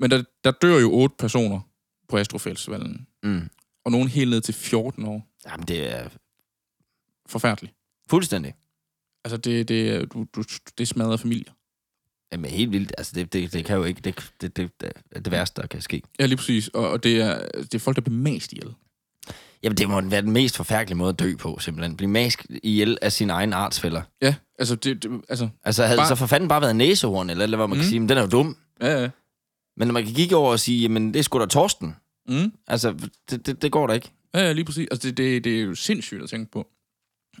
men der, der dør jo otte personer på Astrofestivalen.
Mm.
Og nogen helt ned til 14 år.
Jamen, det er
Forfærdeligt.
fuldstændig.
Altså, det, det, er- du, du, det smadrer familier.
Jamen, helt vildt. Altså, det, det, det kan jo ikke... Det, det, det, det er det værste, der kan ske.
Ja, lige præcis. Og, og det, er, det er folk, der bliver mast ihjel.
Jamen, det må være den mest forfærdelige måde at dø på, simpelthen. Blive mask ihjel af sin egen artsfælder.
Ja, altså, det, det, altså
Altså, havde
Bare-
bare... så for fanden bare været næsehorn, eller, eller hvad man mm. kan sige, men den er jo dum.
ja, ja.
Men når man kan kigge over og sige, jamen, det er sgu da Torsten.
Mm.
Altså, det, det, det går da ikke.
Ja, ja, lige præcis. Altså, det, det, det er jo sindssygt at tænke på.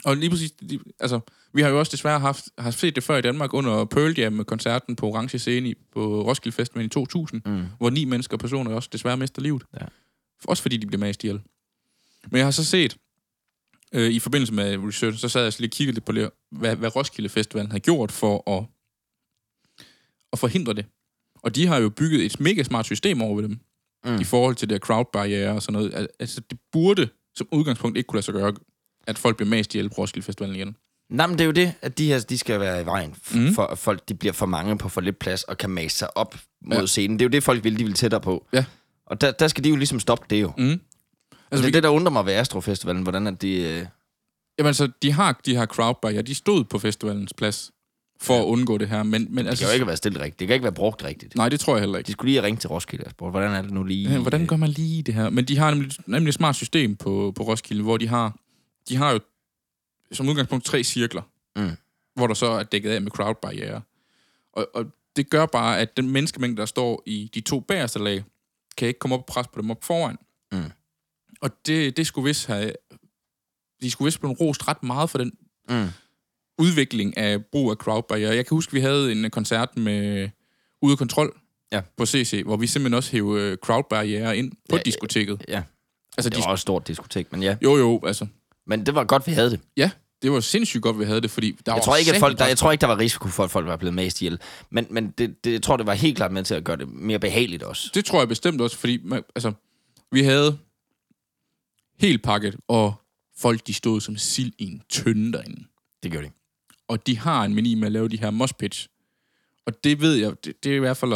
Og lige præcis, lige, altså, vi har jo også desværre haft, har set det før i Danmark under Pearl Jam-koncerten på Orange Scene i- på Roskilde Festival i 2000,
Mm.
hvor ni mennesker og personer også desværre mister livet.
Ja.
Også fordi de bliver mast ihjel. Men jeg har så set, øh, i forbindelse med research, så sad jeg så lige og kiggede lidt på, det, hvad, hvad Roskilde Festivalen har gjort for at, at forhindre det. Og de har jo bygget et mega smart system over ved dem,
Mm.
mm. i forhold til det her crowdbarriere og sådan noget. Al- Altså, det burde som udgangspunkt ikke kunne lade sig gøre, at folk bliver mast ihjel på Roskilde Festivalen igen.
Nej, men det er jo det, at de her, de skal være i vejen, f- mm.
Mm.
for at folk de bliver for mange på for lidt plads og kan mase sig op mod ja. scenen. Det er jo det, folk vil, de vil tættere på.
Ja.
Og der, der skal de jo ligesom stoppe det jo. Mm.
Mm.
Altså, det
Altså,
er
vi,
det, der undrer mig ved Astrofestivalen, hvordan at de... Øh,
jamen, altså, de har de her crowdbarriere, de stod på festivalens plads for at undgå det her, men, men
det
altså...
kan jo ikke være stillet rigtigt. Det kan ikke være brugt rigtigt.
Nej, det tror jeg heller ikke.
De skulle lige ringe til Roskilde og spurgte, hvordan er det nu lige...
Ja, Hvordan gør man lige det her? Men de har nemlig, nemlig et smart system på, på Roskilde, hvor de har, de har jo som udgangspunkt tre cirkler,
Mm.
hvor der så er dækket af med crowdbarriere. Og, og det gør bare, at den menneskemængde, der står i de to bagerste lag, kan ikke komme op og presse på dem op foran.
Mm.
Og det, det skulle vist have... De skulle vist blive rost ret meget for den
Mm.
udvikling af brug af crowdbarriere. Jeg kan huske, vi havde en øh, koncert med Ude af Kontrol
Ja.
på CC, hvor vi simpelthen også hævde crowdbarriere ind på
Ja,
ja, diskoteket.
ja.
Altså,
Det
de,
var også et stort diskotek, men ja.
jo, jo, altså.
Men det var godt, vi havde det.
Ja, det var sindssygt godt, vi havde det, fordi der
Jeg
var
tror, ikke, at folk, der,
satme-
jeg tror ikke, der var risiko for, at folk var blevet mast ihjel. Men, men det, det, jeg tror, det var helt klart med til at gøre det mere behageligt også.
Det tror jeg bestemt også, fordi man, altså, vi havde helt pakket, og folk de stod som sild i en tønde derinde.
Det gjorde de.
Og de har en meni med at lave de her mospitch. Og det ved jeg, det, det er i hvert fald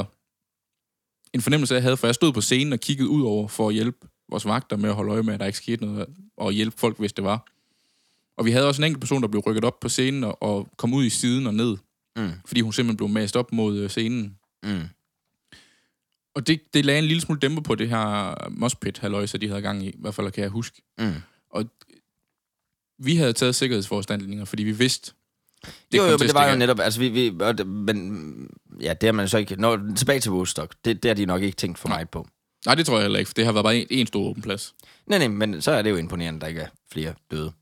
en fornemmelse, jeg havde, for jeg stod på scenen og kiggede ud over for at hjælpe vores vagter med at holde øje med, at der ikke skete noget, og hjælpe folk, hvis det var. Og vi havde også en enkelt person, der blev rykket op på scenen og, og kom ud i siden og ned,
Mm.
fordi hun simpelthen blev mast op mod øh, scenen.
Mm.
Og det, det lagde en lille smule dæmper på det her mospit halløjse de havde gang i, i hvert fald kan jeg huske.
Mm.
Og vi havde taget sikkerhedsforanstaltninger, fordi vi vidste,
Det jo,
kom
jo, men
til at
det var jo
stikke af.
netop, altså vi, vi og det, men ja, det har man så ikke, når, tilbage til Woodstock, det, det har de nok ikke tænkt for meget på.
Nej, det tror jeg heller ikke, for det har været bare en, en stor åben plads.
Nej, nej, men så er det jo imponerende, at der ikke er flere døde.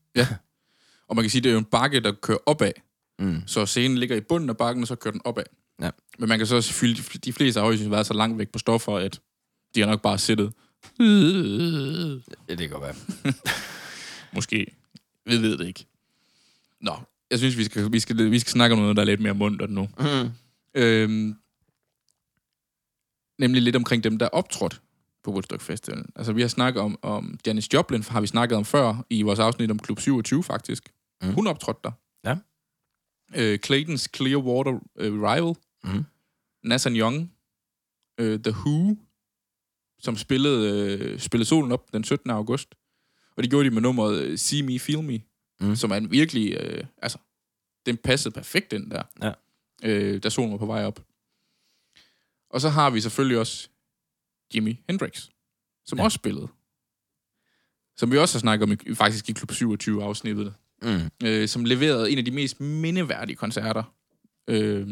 Og man kan sige, det er jo en bakke, der kører opad.
Mm.
Så scenen ligger i bunden af bakken, og så kører den opad.
Ja.
Men man kan så også fylde, de fleste har jo været så langt væk på stoffer, at de har nok bare siddet. Øh,
Ja, det kan godt være.
Måske. Vi ved det ikke. Nå, jeg synes, vi skal, vi skal, vi skal snakke om noget, der er lidt mere mundt nu.
Mm.
Øhm, nemlig lidt omkring dem, der er optrådt på Woodstock Festivalen. Altså, vi har snakket om, om Janis Joplin, har vi snakket om før i vores afsnit om Klub 27, faktisk.
Mm.
Mm. Hun optrådte der.
Ja.
Øh, Clayton's Clearwater øh, Revival.
Mm.
Nathan Young. Øh, The Who, som spillede, øh, spillede solen op den 17. august. Og det gjorde de med nummeret øh, See Me, Feel Me,
Mm.
mm. som er en virkelig... Øh, altså, den passede perfekt, den der.
Ja.
Øh, da solen var på vej op. Og så har vi selvfølgelig også Jimi Hendrix, som
Ja.
ja. også spillede. Som vi også har snakket om i, faktisk i Klub 27 afsnittet,
Mm.
øh, som leverede en af de mest mindeværdige koncerter. Øh,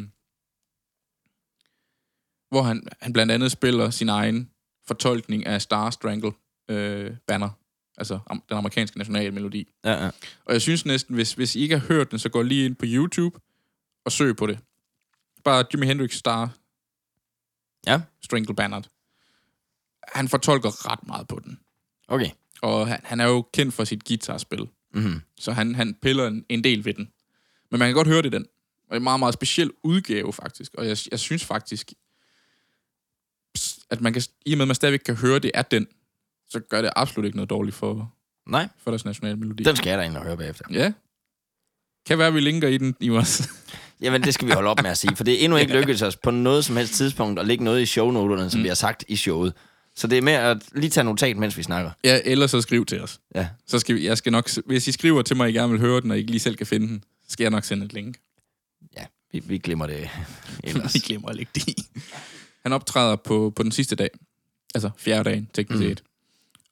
hvor han, han blandt andet spiller sin egen fortolkning af Star Strangle øh, banner, altså am- den amerikanske nationalmelodi.
Ja, ja.
Og jeg synes næsten, hvis, hvis I ikke har hørt den, så gå lige ind på YouTube og søg på det. Bare Jimi Hendrix Star
Ja.
Strangle Bannert. Han fortolker ret meget på den.
Okay.
Og han, han er jo kendt for sit guitarspil,
Mm.
så han, han piller en, en del ved den. Men man kan godt høre det i den. Og det er en meget, meget speciel udgave, faktisk. Og jeg, jeg synes faktisk, at man kan, i og med, at man stadigvæk kan høre, det er den, så gør det absolut ikke noget dårligt for,
Nej,
for deres nationale melodi.
den skal jeg da egentlig høre bagefter.
Ja. Kan være, vi linker i den, Jonas.
Jamen, det skal vi holde op med at sige, for det er endnu ikke lykkedes os på noget som helst tidspunkt at lægge noget i shownoterne, som mm. vi har sagt i showet. Så det er med at lige tage notat, mens vi snakker.
ja, eller så skriv til os.
Ja.
Så skal vi, jeg skal nok, hvis I skriver til mig, at I gerne vil høre den, og I ikke lige selv kan finde den, så skal jeg nok sende et link.
Ja, vi, vi glemmer det ellers.
Vi glemmer at lægge det i. Han optræder på, på den sidste dag. Altså fjerde dagen, teknisk
Mm.
set.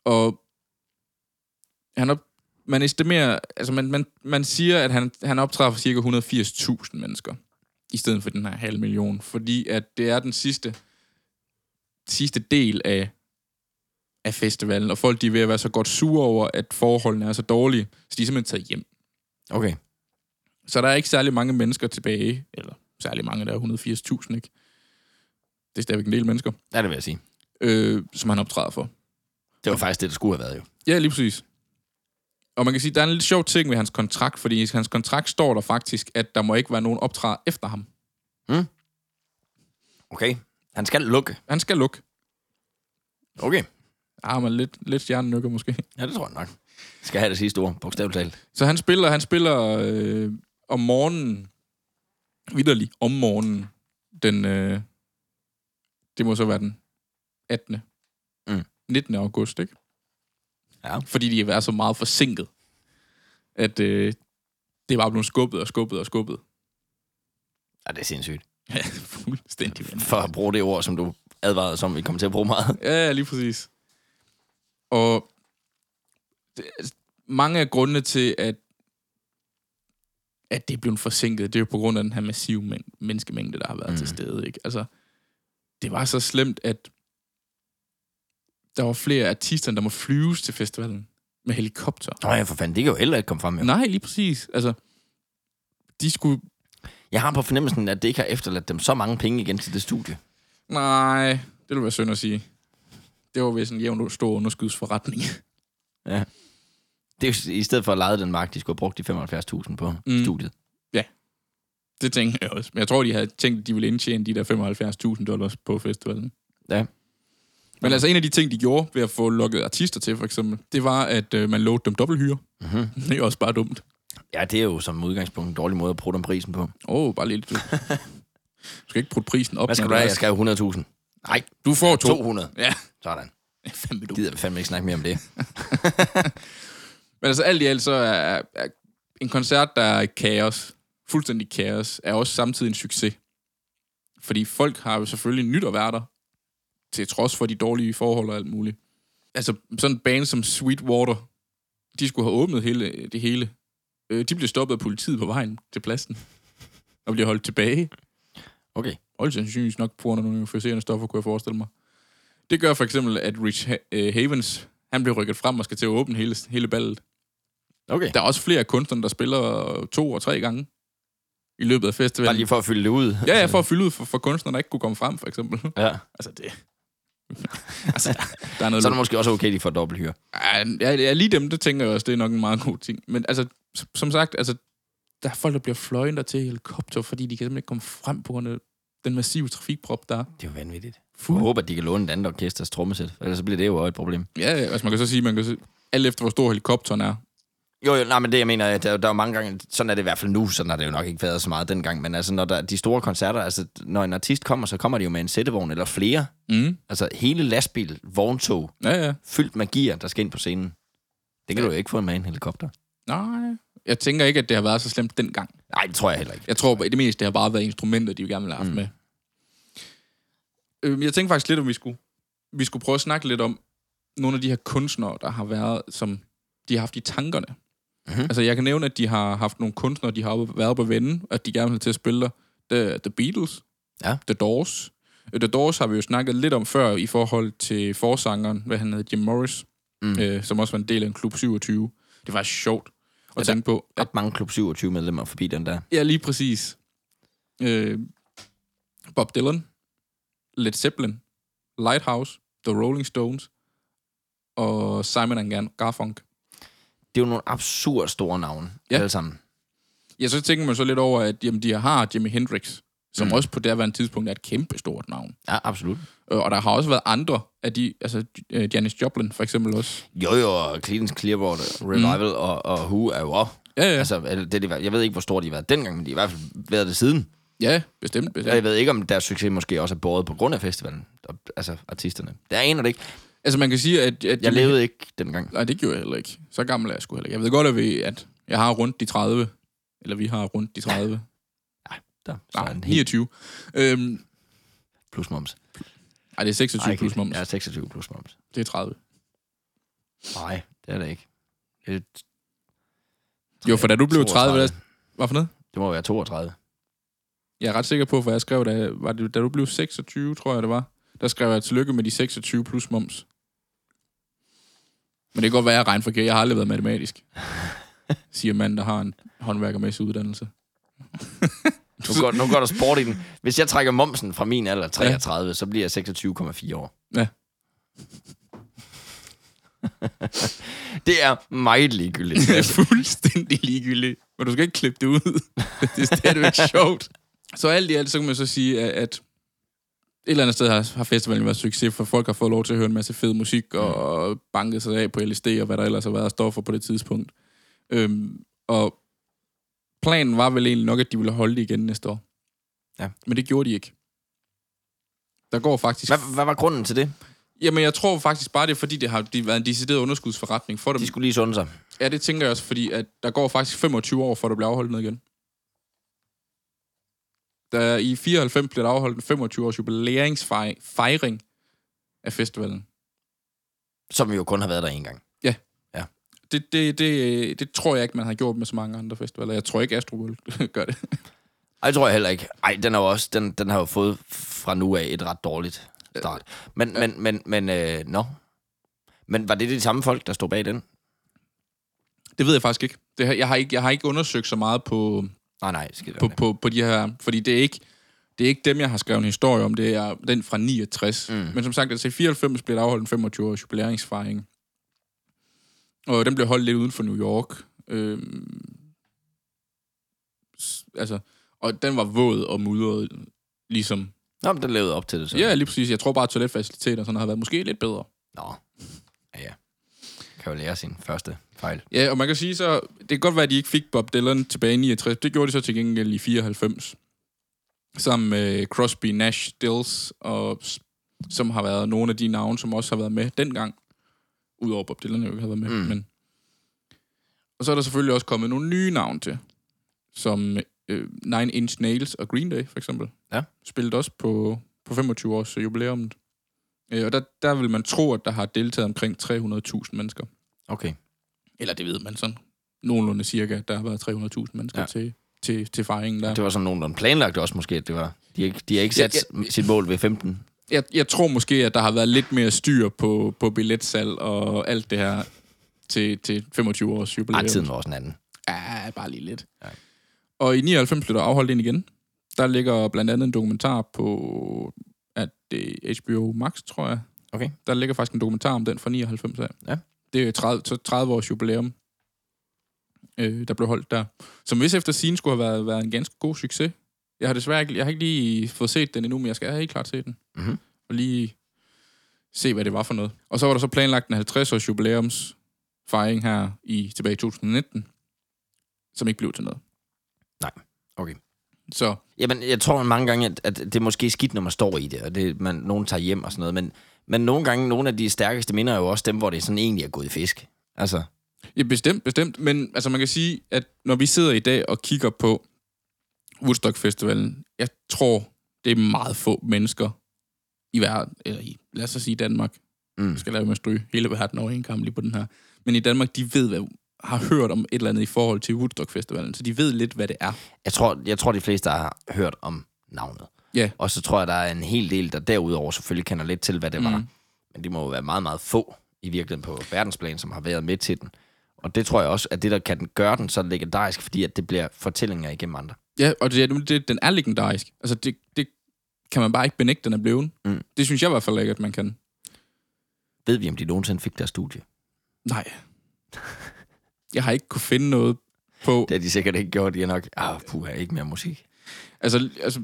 Og han op, man estimerer, altså man, man, man siger, at han, han optræder for cirka 180.000 mennesker, i stedet for den her halv million, fordi at det er den sidste sidste del af, af festivalen, og folk de er ved at være så godt sure over, at forholdene er så dårlige, så de er simpelthen taget hjem.
Okay.
Så der er ikke særlig mange mennesker tilbage, eller særlig mange, der er 180.000, ikke? Det er stadigvæk en del mennesker,
Ja, det vil jeg sige.
øh, som han optræder for.
Det var faktisk det, der skulle have været jo.
Ja, lige præcis. Og man kan sige, der er en lidt sjov ting ved hans kontrakt, fordi i hans kontrakt står der faktisk, at der må ikke være nogen optræder efter ham.
Okay. Han skal lukke.
Han skal lukke.
Okay.
Ah, men lidt, lidt stjernenykker måske.
Ja, det tror jeg nok. Skal have det sidste ord, bogstaveligt talt.
Så han spiller, han spiller øh, om morgenen, vidderlig om morgenen, den, øh, det må så være den 18.
Mm.
19. august, ikke?
Ja.
Fordi de har været så meget forsinket, at øh, det var blevet skubbet og skubbet og skubbet.
Ja, det er sindssygt.
Ja, fuldstændig. vanvittigt.
For at bruge det ord, som du advarede os om, vi kommer til at bruge meget.
Ja, ja, lige præcis. Og det, altså, mange af grundene til, at, at det er blevet forsinket, det er jo på grund af den her massive mæng- menneskemængde, der har været mm. til stede. Ikke? Altså, det var så slemt, at der var flere artister, der må flyves til festivalen med helikopter.
Nå ja, for fanden, det kan jo heller ikke komme frem. Jo.
Nej, lige præcis. Altså, de skulle...
Jeg har på fornemmelsen, at det ikke har efterladt dem så mange penge igen til det studie.
Nej, det ville være synd at sige. Det var vist en jævn stor underskudsforretning.
Ja. Det er jo i stedet for at lege den mark, de skulle have brugt de 75.000 på mm. studiet.
Det tænker jeg også. Men jeg tror, de havde tænkt, at de ville indtjene de der 75.000 dollars på festivalen.
Ja.
Men altså en af de ting, de gjorde ved at få lukket artister til, for eksempel, det var, at øh, man lovede dem dobbelthyre. Mm-hmm. Det er også bare dumt.
Ja, det er jo som udgangspunkt en dårlig måde at bruge dem prisen på.
Åh, oh, bare lidt. Du Du skal ikke putte prisen op.
Hvad skal
når
du have?
er-
Jeg skal have 100.000. Nej,
Du får to.
200.
Ja,
Sådan.
fandme du.
Gider vi fandme ikke snakke mere om det.
Men altså alt i alt, så er, er en koncert, der er kaos, fuldstændig kaos, er også samtidig en succes. Fordi folk har jo selvfølgelig nyt at være der, til trods for de dårlige forhold og alt muligt. Altså sådan en band som Sweetwater, de skulle have åbnet hele, det hele. Øh, De blev stoppet af politiet på vejen til pladsen, og blev holdt tilbage.
Okay.
Og sandsynligvis nok på grund af nogle euforiserende stoffer, kunne jeg forestille mig. Det gør for eksempel, at Rich ha- øh, Havens, han blev rykket frem og skal til at åbne hele, hele ballet.
Okay.
Der er også flere af kunstnerne, der spiller to og tre gange i løbet af
Bare
festivalen.
lige for at fylde det ud.
Ja, ja, for at fylde ud for, for kunstnere, der ikke kunne komme frem, for eksempel.
ja.
Altså, det... altså, der er noget...
Så er det måske også okay, de får dobbelthyre.
Ej, Ja, ja, lige dem, det tænker jeg også, det er nok en meget god ting. Men altså, s- som sagt, altså, der er folk, der bliver fløjet der til i helikopter, fordi de kan simpelthen ikke komme frem på grund af den massive trafikprop, der er.
Det er jo vanvittigt. Jeg
Fuld.
håber, at de kan låne et andet orkesters trommesæt, ellers så bliver det jo et problem.
Ja, ja, altså man kan så sige, man kan så... alt efter, hvor stor helikopteren er.
Jo, jo, nej, men det jeg mener, at der, der er jo mange gange, sådan er det i hvert fald nu, sådan har det jo nok ikke været så meget dengang, men altså når der de store koncerter, altså når en artist kommer, så kommer de jo med en sættevogn eller flere,
Mm.
altså hele lastbil, vogntog,
Ja, ja.
fyldt med gear, der skal ind på scenen. Det kan du jo ikke få med en helikopter.
Nej. Jeg tænker ikke, at det har været så slemt dengang.
Nej, det tror jeg heller ikke.
Jeg tror, at det meste har bare været instrumenter, de jo gerne ville have haft mm. med. Øhm, Jeg tænkte faktisk lidt, om vi skulle, vi skulle prøve at snakke lidt om nogle af de her kunstnere, der har været, som de har haft i tankerne.
Mhm.
Mm-hmm. Altså, jeg kan nævne, at de har haft nogle kunstnere, de har oppe- været på vende, at de gerne vil til at spille der. The, The Beatles,
Ja.
The Doors. Øh, The Doors har vi jo snakket lidt om før i forhold til forsangeren, hvad han hed, Jim Morris,
Mm.
mm. øh, som også var en del af en klub 27. Det var sjovt at
Ja, der-
tænke på.
Der er mange klub 27 medlemmer forbi den der.
Ja, lige præcis. Øh, Bob Dylan, Led Zeppelin, Lighthouse, The Rolling Stones og Simon and Gar- Garfunkel.
Det er jo nogle absurd store navne, ja.
Ja.
alle sammen.
Ja, så tænker man så lidt over, at jamen, de har Jimi Hendrix, som mm. også på derværende tidspunkt er et kæmpe stort navn.
Ja, absolut.
Øh, Og der har også været andre af de, altså øh, Janis Joplin for eksempel også.
Jo, jo, og Creedence Clearwater Revival mm. og, og Who er jo også.
Ja, ja, altså,
Altså, eller det, er de, jeg ved ikke, hvor store de har været dengang, men de har i hvert fald været det siden.
ja bestemt. bestemt.
Jeg ved ikke, om deres succes måske også er båret på grund af festivalen. Og- Altså, artisterne. Det aner det ikke.
Altså man kan sige, at... at
Jeg
Jimi-
levede ikke dengang.
Nej, det gjorde jeg heller ikke. Så gammel er jeg sgu heller ikke. Jeg ved godt, at, vi, at jeg har rundt de 30. Eller vi har rundt de 30.
Der, så er
Nej,
en helt
29. Ah, Øhm,
plus moms.
ej, det er 26
Ej,
Ej, plus moms.
Ja,
Ja.
26 plus moms.
Det er 30.
Nej, det er det ikke. Det,
Jo, for da du blev 30,
32.
der, hvad for noget?
det må være 32.
Jeg er ret sikker på, for jeg skrev, da, var det, da du blev 26, tror jeg det var. der skrev jeg tillykke med de 26 plus moms. Men det kan godt være, at jeg regner forkert. Jeg har aldrig været matematisk, siger manden, der har en håndværkermæssig uddannelse.
Nu går, nu går der sport i den. Hvis jeg trækker momsen fra min alder, 33, ja. så bliver jeg 26,4 år.
Ja.
Det er meget ligegyldigt.
Det er fuldstændig ligegyldigt. Men du skal ikke klippe det ud. det er stadigvæk sjovt. Så alt i alt, så kan man så sige, at, at et eller andet sted har, har festivalen været succes, for folk har fået lov til at høre en masse fed musik, og, og banket sig af på LSD, og hvad der ellers har været af stoffer på det tidspunkt. Øhm, og planen var vel egentlig nok, at de ville holde det igen næste år.
Ja.
Men det gjorde de ikke. Der går faktisk...
Hvad, hvad var grunden til det?
Jamen, jeg tror faktisk bare, det er fordi, det har det har været en decideret underskudsforretning for dem.
De skulle lige sunde sig.
Ja, det tænker jeg også, fordi at der går faktisk 25 år, før der bliver afholdt noget igen. Der i 94 bliver der afholdt en 25-års jubilæringsfejring af festivalen.
Som jo kun har været der en gang.
Det, det, det, det tror jeg ikke, man har gjort med så mange andre festivaler. Jeg tror ikke, Astro World gør det.
Ej, det tror jeg heller ikke. Ej, den, er jo også, den, den har jo fået fra nu af et ret dårligt start. Men, men, men, men, øh, nå. Men var det de samme folk, der stod bag den?
Det ved jeg faktisk ikke. Det, har- jeg, har ikke jeg har ikke undersøgt så meget på,
Nej, Ah, nej, skidt.
på, på, på de her... Fordi det er ikke... Det er ikke dem, jeg har skrevet en historie om, det er den fra 69. Mm. Men som sagt, altså i 94 blev der afholdt en 25-års jubilæringsfejring. Og den blev holdt lidt uden for New York. Øhm, s- altså, og den var våd og mudret, ligesom.
Nå, men den levede op til det så.
Ja, lige præcis. Jeg tror bare, at toiletfaciliteter og sådan noget har været måske lidt bedre.
Nå. Ja, ja. Kan jo lære sin første fejl.
Ja, og man kan sige så, det kan godt være, at de ikke fik Bob Dylan tilbage i 69. Det gjorde de så til gengæld i 94. Sammen med Crosby, Nash, Stills, og, s- som har været nogle af de navne, som også har været med dengang. Udover Bob Dylan, jo ikke har været med. Mm. Men. Og så er der selvfølgelig også kommet nogle nye navne til. Som øh, Nine Inch Nails og Green Day, for eksempel.
Ja.
Spillede også på, på 25 års jubilæumet. Øh, og der, der vil man tro, at der har deltaget omkring 300.000 mennesker.
Okay.
Eller det ved man sådan. Nogenlunde cirka, at der har været 300.000 mennesker
Ja.
ja. til, til, til fejringen der.
Det var sådan nogenlunde planlagt også måske, at det var. De har ikke, de har ikke sat
Ja,
ja. sit mål ved 15.
Jeg, jeg tror måske, at der har været lidt mere styr på, på billetsal og alt det her til, til 25 års jubilæum.
Ej, tiden var også en anden.
Ja, bare lige lidt.
Ja.
Ja. Og i 99 blev der afholdt ind igen. Der ligger blandt andet en dokumentar på at det er HBO Max, tror jeg.
Okay.
Der ligger faktisk en dokumentar om den fra 99 af.
Ja.
Det er 30, så 30 års jubilæum, øh, der blev holdt der. Som hvis efter sin skulle have været, været en ganske god succes. Jeg har desværre ikke, jeg har ikke lige fået set den endnu, men jeg skal helt klart se den.
Mhm.
Og lige se, hvad det var for noget. Og så var der så planlagt en 50-års jubilæums fejring her i, tilbage i 2019, som ikke blev til noget.
Nej, okay.
Så
Jamen, jeg tror mange gange, at, at det er måske skidt, når man står i det, og det, man, nogen tager hjem og sådan noget, men, men nogle gange, nogle af de stærkeste minder er jo også dem, hvor det sådan egentlig er gået i fisk. Altså,
Ja, bestemt, bestemt. Men altså, man kan sige, at når vi sidder i dag og kigger på Woodstock Festivalen, jeg tror, det er meget få mennesker i verden, eller i, lad os så sige Danmark,
mm.
jeg skal lade med at stryge hele verden over en kamp lige på den her. Men i Danmark, de ved, hvad, har hørt om et eller andet i forhold til Woodstock Festivalen, så de ved lidt, hvad det er.
jeg, tror, jeg tror, de fleste har hørt om navnet.
Ja.
Og så tror jeg, der er en hel del, der derudover selvfølgelig kender lidt til, hvad det mm. var. Men det må jo være meget, meget få i virkeligheden på verdensplan, som har været med til den. Og det tror jeg også, at det, der kan gøre den så legendarisk, fordi at det bliver fortællinger igennem andre.
Ja, og det, er- det, den er legendarisk. Altså, det, det kan man bare ikke benægte, den er blevet.
Mm.
Det synes jeg i hvert fald ikke, at man kan.
Ved vi, om de nogensinde fik deres studie?
Nej. Jeg har ikke kunne finde noget på...
Det har de sikkert ikke gjort. De har nok, ah, puha, ikke mere musik.
Altså, altså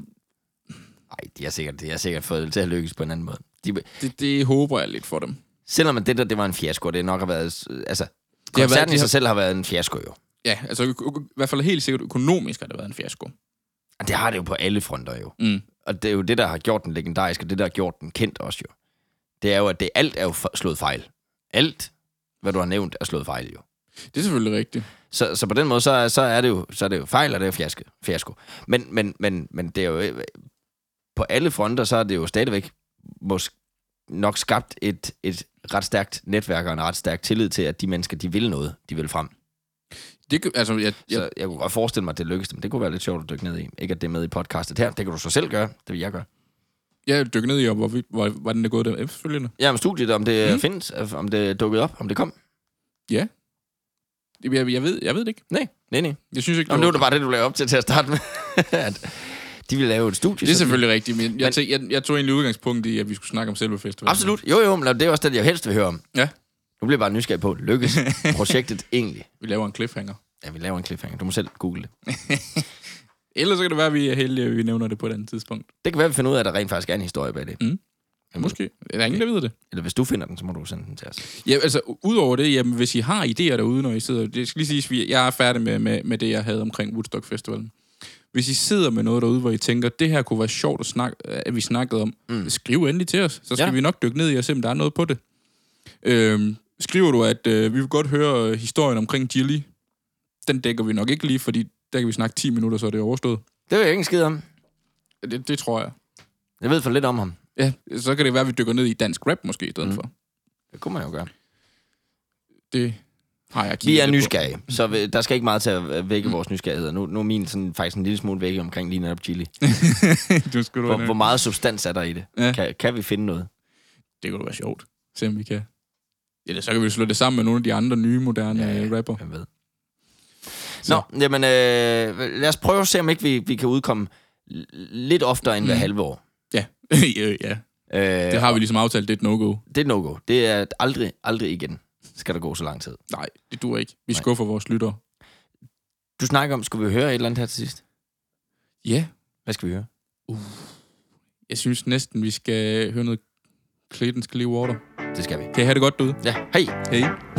Nej, de har sikkert, de har sikkert fået det til at lykkes på en anden måde. De,
det, det håber jeg lidt for dem.
selvom at det der, det var en fiasko, og det nok har været... øh, Altså,
været-
koncerten i
det har-
sig selv har været en fiasko jo.
Ja, altså ø- ø- i hvert fald helt sikkert økonomisk har det været en fiasko.
Og det har det jo på alle fronter jo.
Mm.
Og det er jo det, der har gjort den legendarisk, og det, der har gjort den kendt også jo. Det er jo, at det alt er jo f- slået fejl. Alt, hvad du har nævnt, er slået fejl jo.
Det er selvfølgelig rigtigt.
Så, så på den måde, så, er- så, er det jo, så er det jo fejl, og det er jo fiasko. fiasko. Men, men, men, men det er jo... øh, På alle fronter, så er det jo stadigvæk måske nok skabt et, et ret stærkt netværk og en ret stærk tillid til, at de mennesker, de vil noget, de vil frem.
Det, kan- altså, jeg, jeg,
Så jeg kunne godt forestille mig, at det lykkedes dem. Det kunne være lidt sjovt at dykke ned i. Ikke at det er med i podcastet her. Det kan du så selv gøre. Det vil jeg gøre.
jeg dykker ned i, og hvor, vi- hvor, hvordan det er gået der efterfølgende.
Ja, om studiet, om det
Mm.
mm. findes, om det er dukket op, om det kom.
Jeg, jeg, ved, jeg ved det ikke.
Nej, nej, nej.
Jeg synes ikke,
Nå, men nu er det bare det, du lavede op til til at starte med. at de ville lave et studie.
det er
så-
selvfølgelig rigtigt, men jeg,
Men-
tænkte, jeg, jeg tog egentlig udgangspunkt i, at vi skulle snakke om selve festivalen.
Absolut. Jo, jo, men det er også det, jeg helst vil høre om.
Ja.
Nu bliver jeg bare nysgerrig på, lykkes projektet egentlig?
Vi laver en cliffhanger.
Ja, vi laver en cliffhanger. Du må selv google det.
Ellers så kan det være, at vi er heldige, at vi nævner det på et andet tidspunkt.
Det kan være, vi finder ud af, at der rent faktisk er en historie bag det. Jamen.
Måske. Der er ingen, der ved det.
Eller hvis du finder den, så må du sende den til os.
Ja, altså, u- udover det, jamen, hvis I har idéer derude, når I sidder... Det skal lige siges, vi- jeg er færdig med, med, med det, jeg havde omkring Woodstock Festivalen. Hvis I sidder med noget derude, hvor I tænker, det her kunne være sjovt, at, snak, at vi snakkede om, mm.
Mm.
skriv endelig til os. Så skal ja.
Ja.
vi nok dykke ned i og se, om der er noget på det. Øhm, skriver du, at øh, vi vil godt høre øh, historien omkring Jilly. Den dækker vi nok ikke lige, fordi der kan vi snakke 10 minutter, så er det overstået.
Det ved jeg ikke en skid om.
Det, det tror jeg.
Jeg ved for lidt om ham.
Ja, så kan det være, at vi dykker ned i dansk rap måske i stedet
Mm.
mm. for.
Det kunne man jo gøre.
Det har jeg
Vi
kigget
er
lidt på. Mm.
nysgerrige, så vi- der skal ikke meget til at vække vores nysgerrighed. Nu, nu er min sådan, faktisk en lille smule vække omkring lige netop chili.
du skulle
Hvor, hvor meget substans er der i det?
Ja.
Ja. Kan, kan vi finde noget?
Det kunne da være sjovt. Se om vi kan. Eller så kan vi jo slå det sammen med nogle af de andre nye, moderne
Ja,
ja,
ja.
ja. rapper.
Hvem ved?
Så.
Nå, jamen, øh, lad os prøve at se, om ikke vi, vi kan udkomme l- lidt oftere end hver
Mm.
halve år.
Ja. ja, ja.
Øh,
Det har vi ligesom aftalt, det er et no-go.
Det er et no-go. Det er at aldrig, aldrig igen, skal der gå så lang tid.
Nej, det duer ikke. Vi
Nej.
skuffer vores lyttere.
Du snakker om, skulle vi høre et eller andet her til sidst?
Ja,
Hvad skal vi høre?
jeg synes næsten, vi skal høre noget Clayton Clearwater.
Det skal vi.
Kan I have det godt derude?
Ja, hej!
Hej.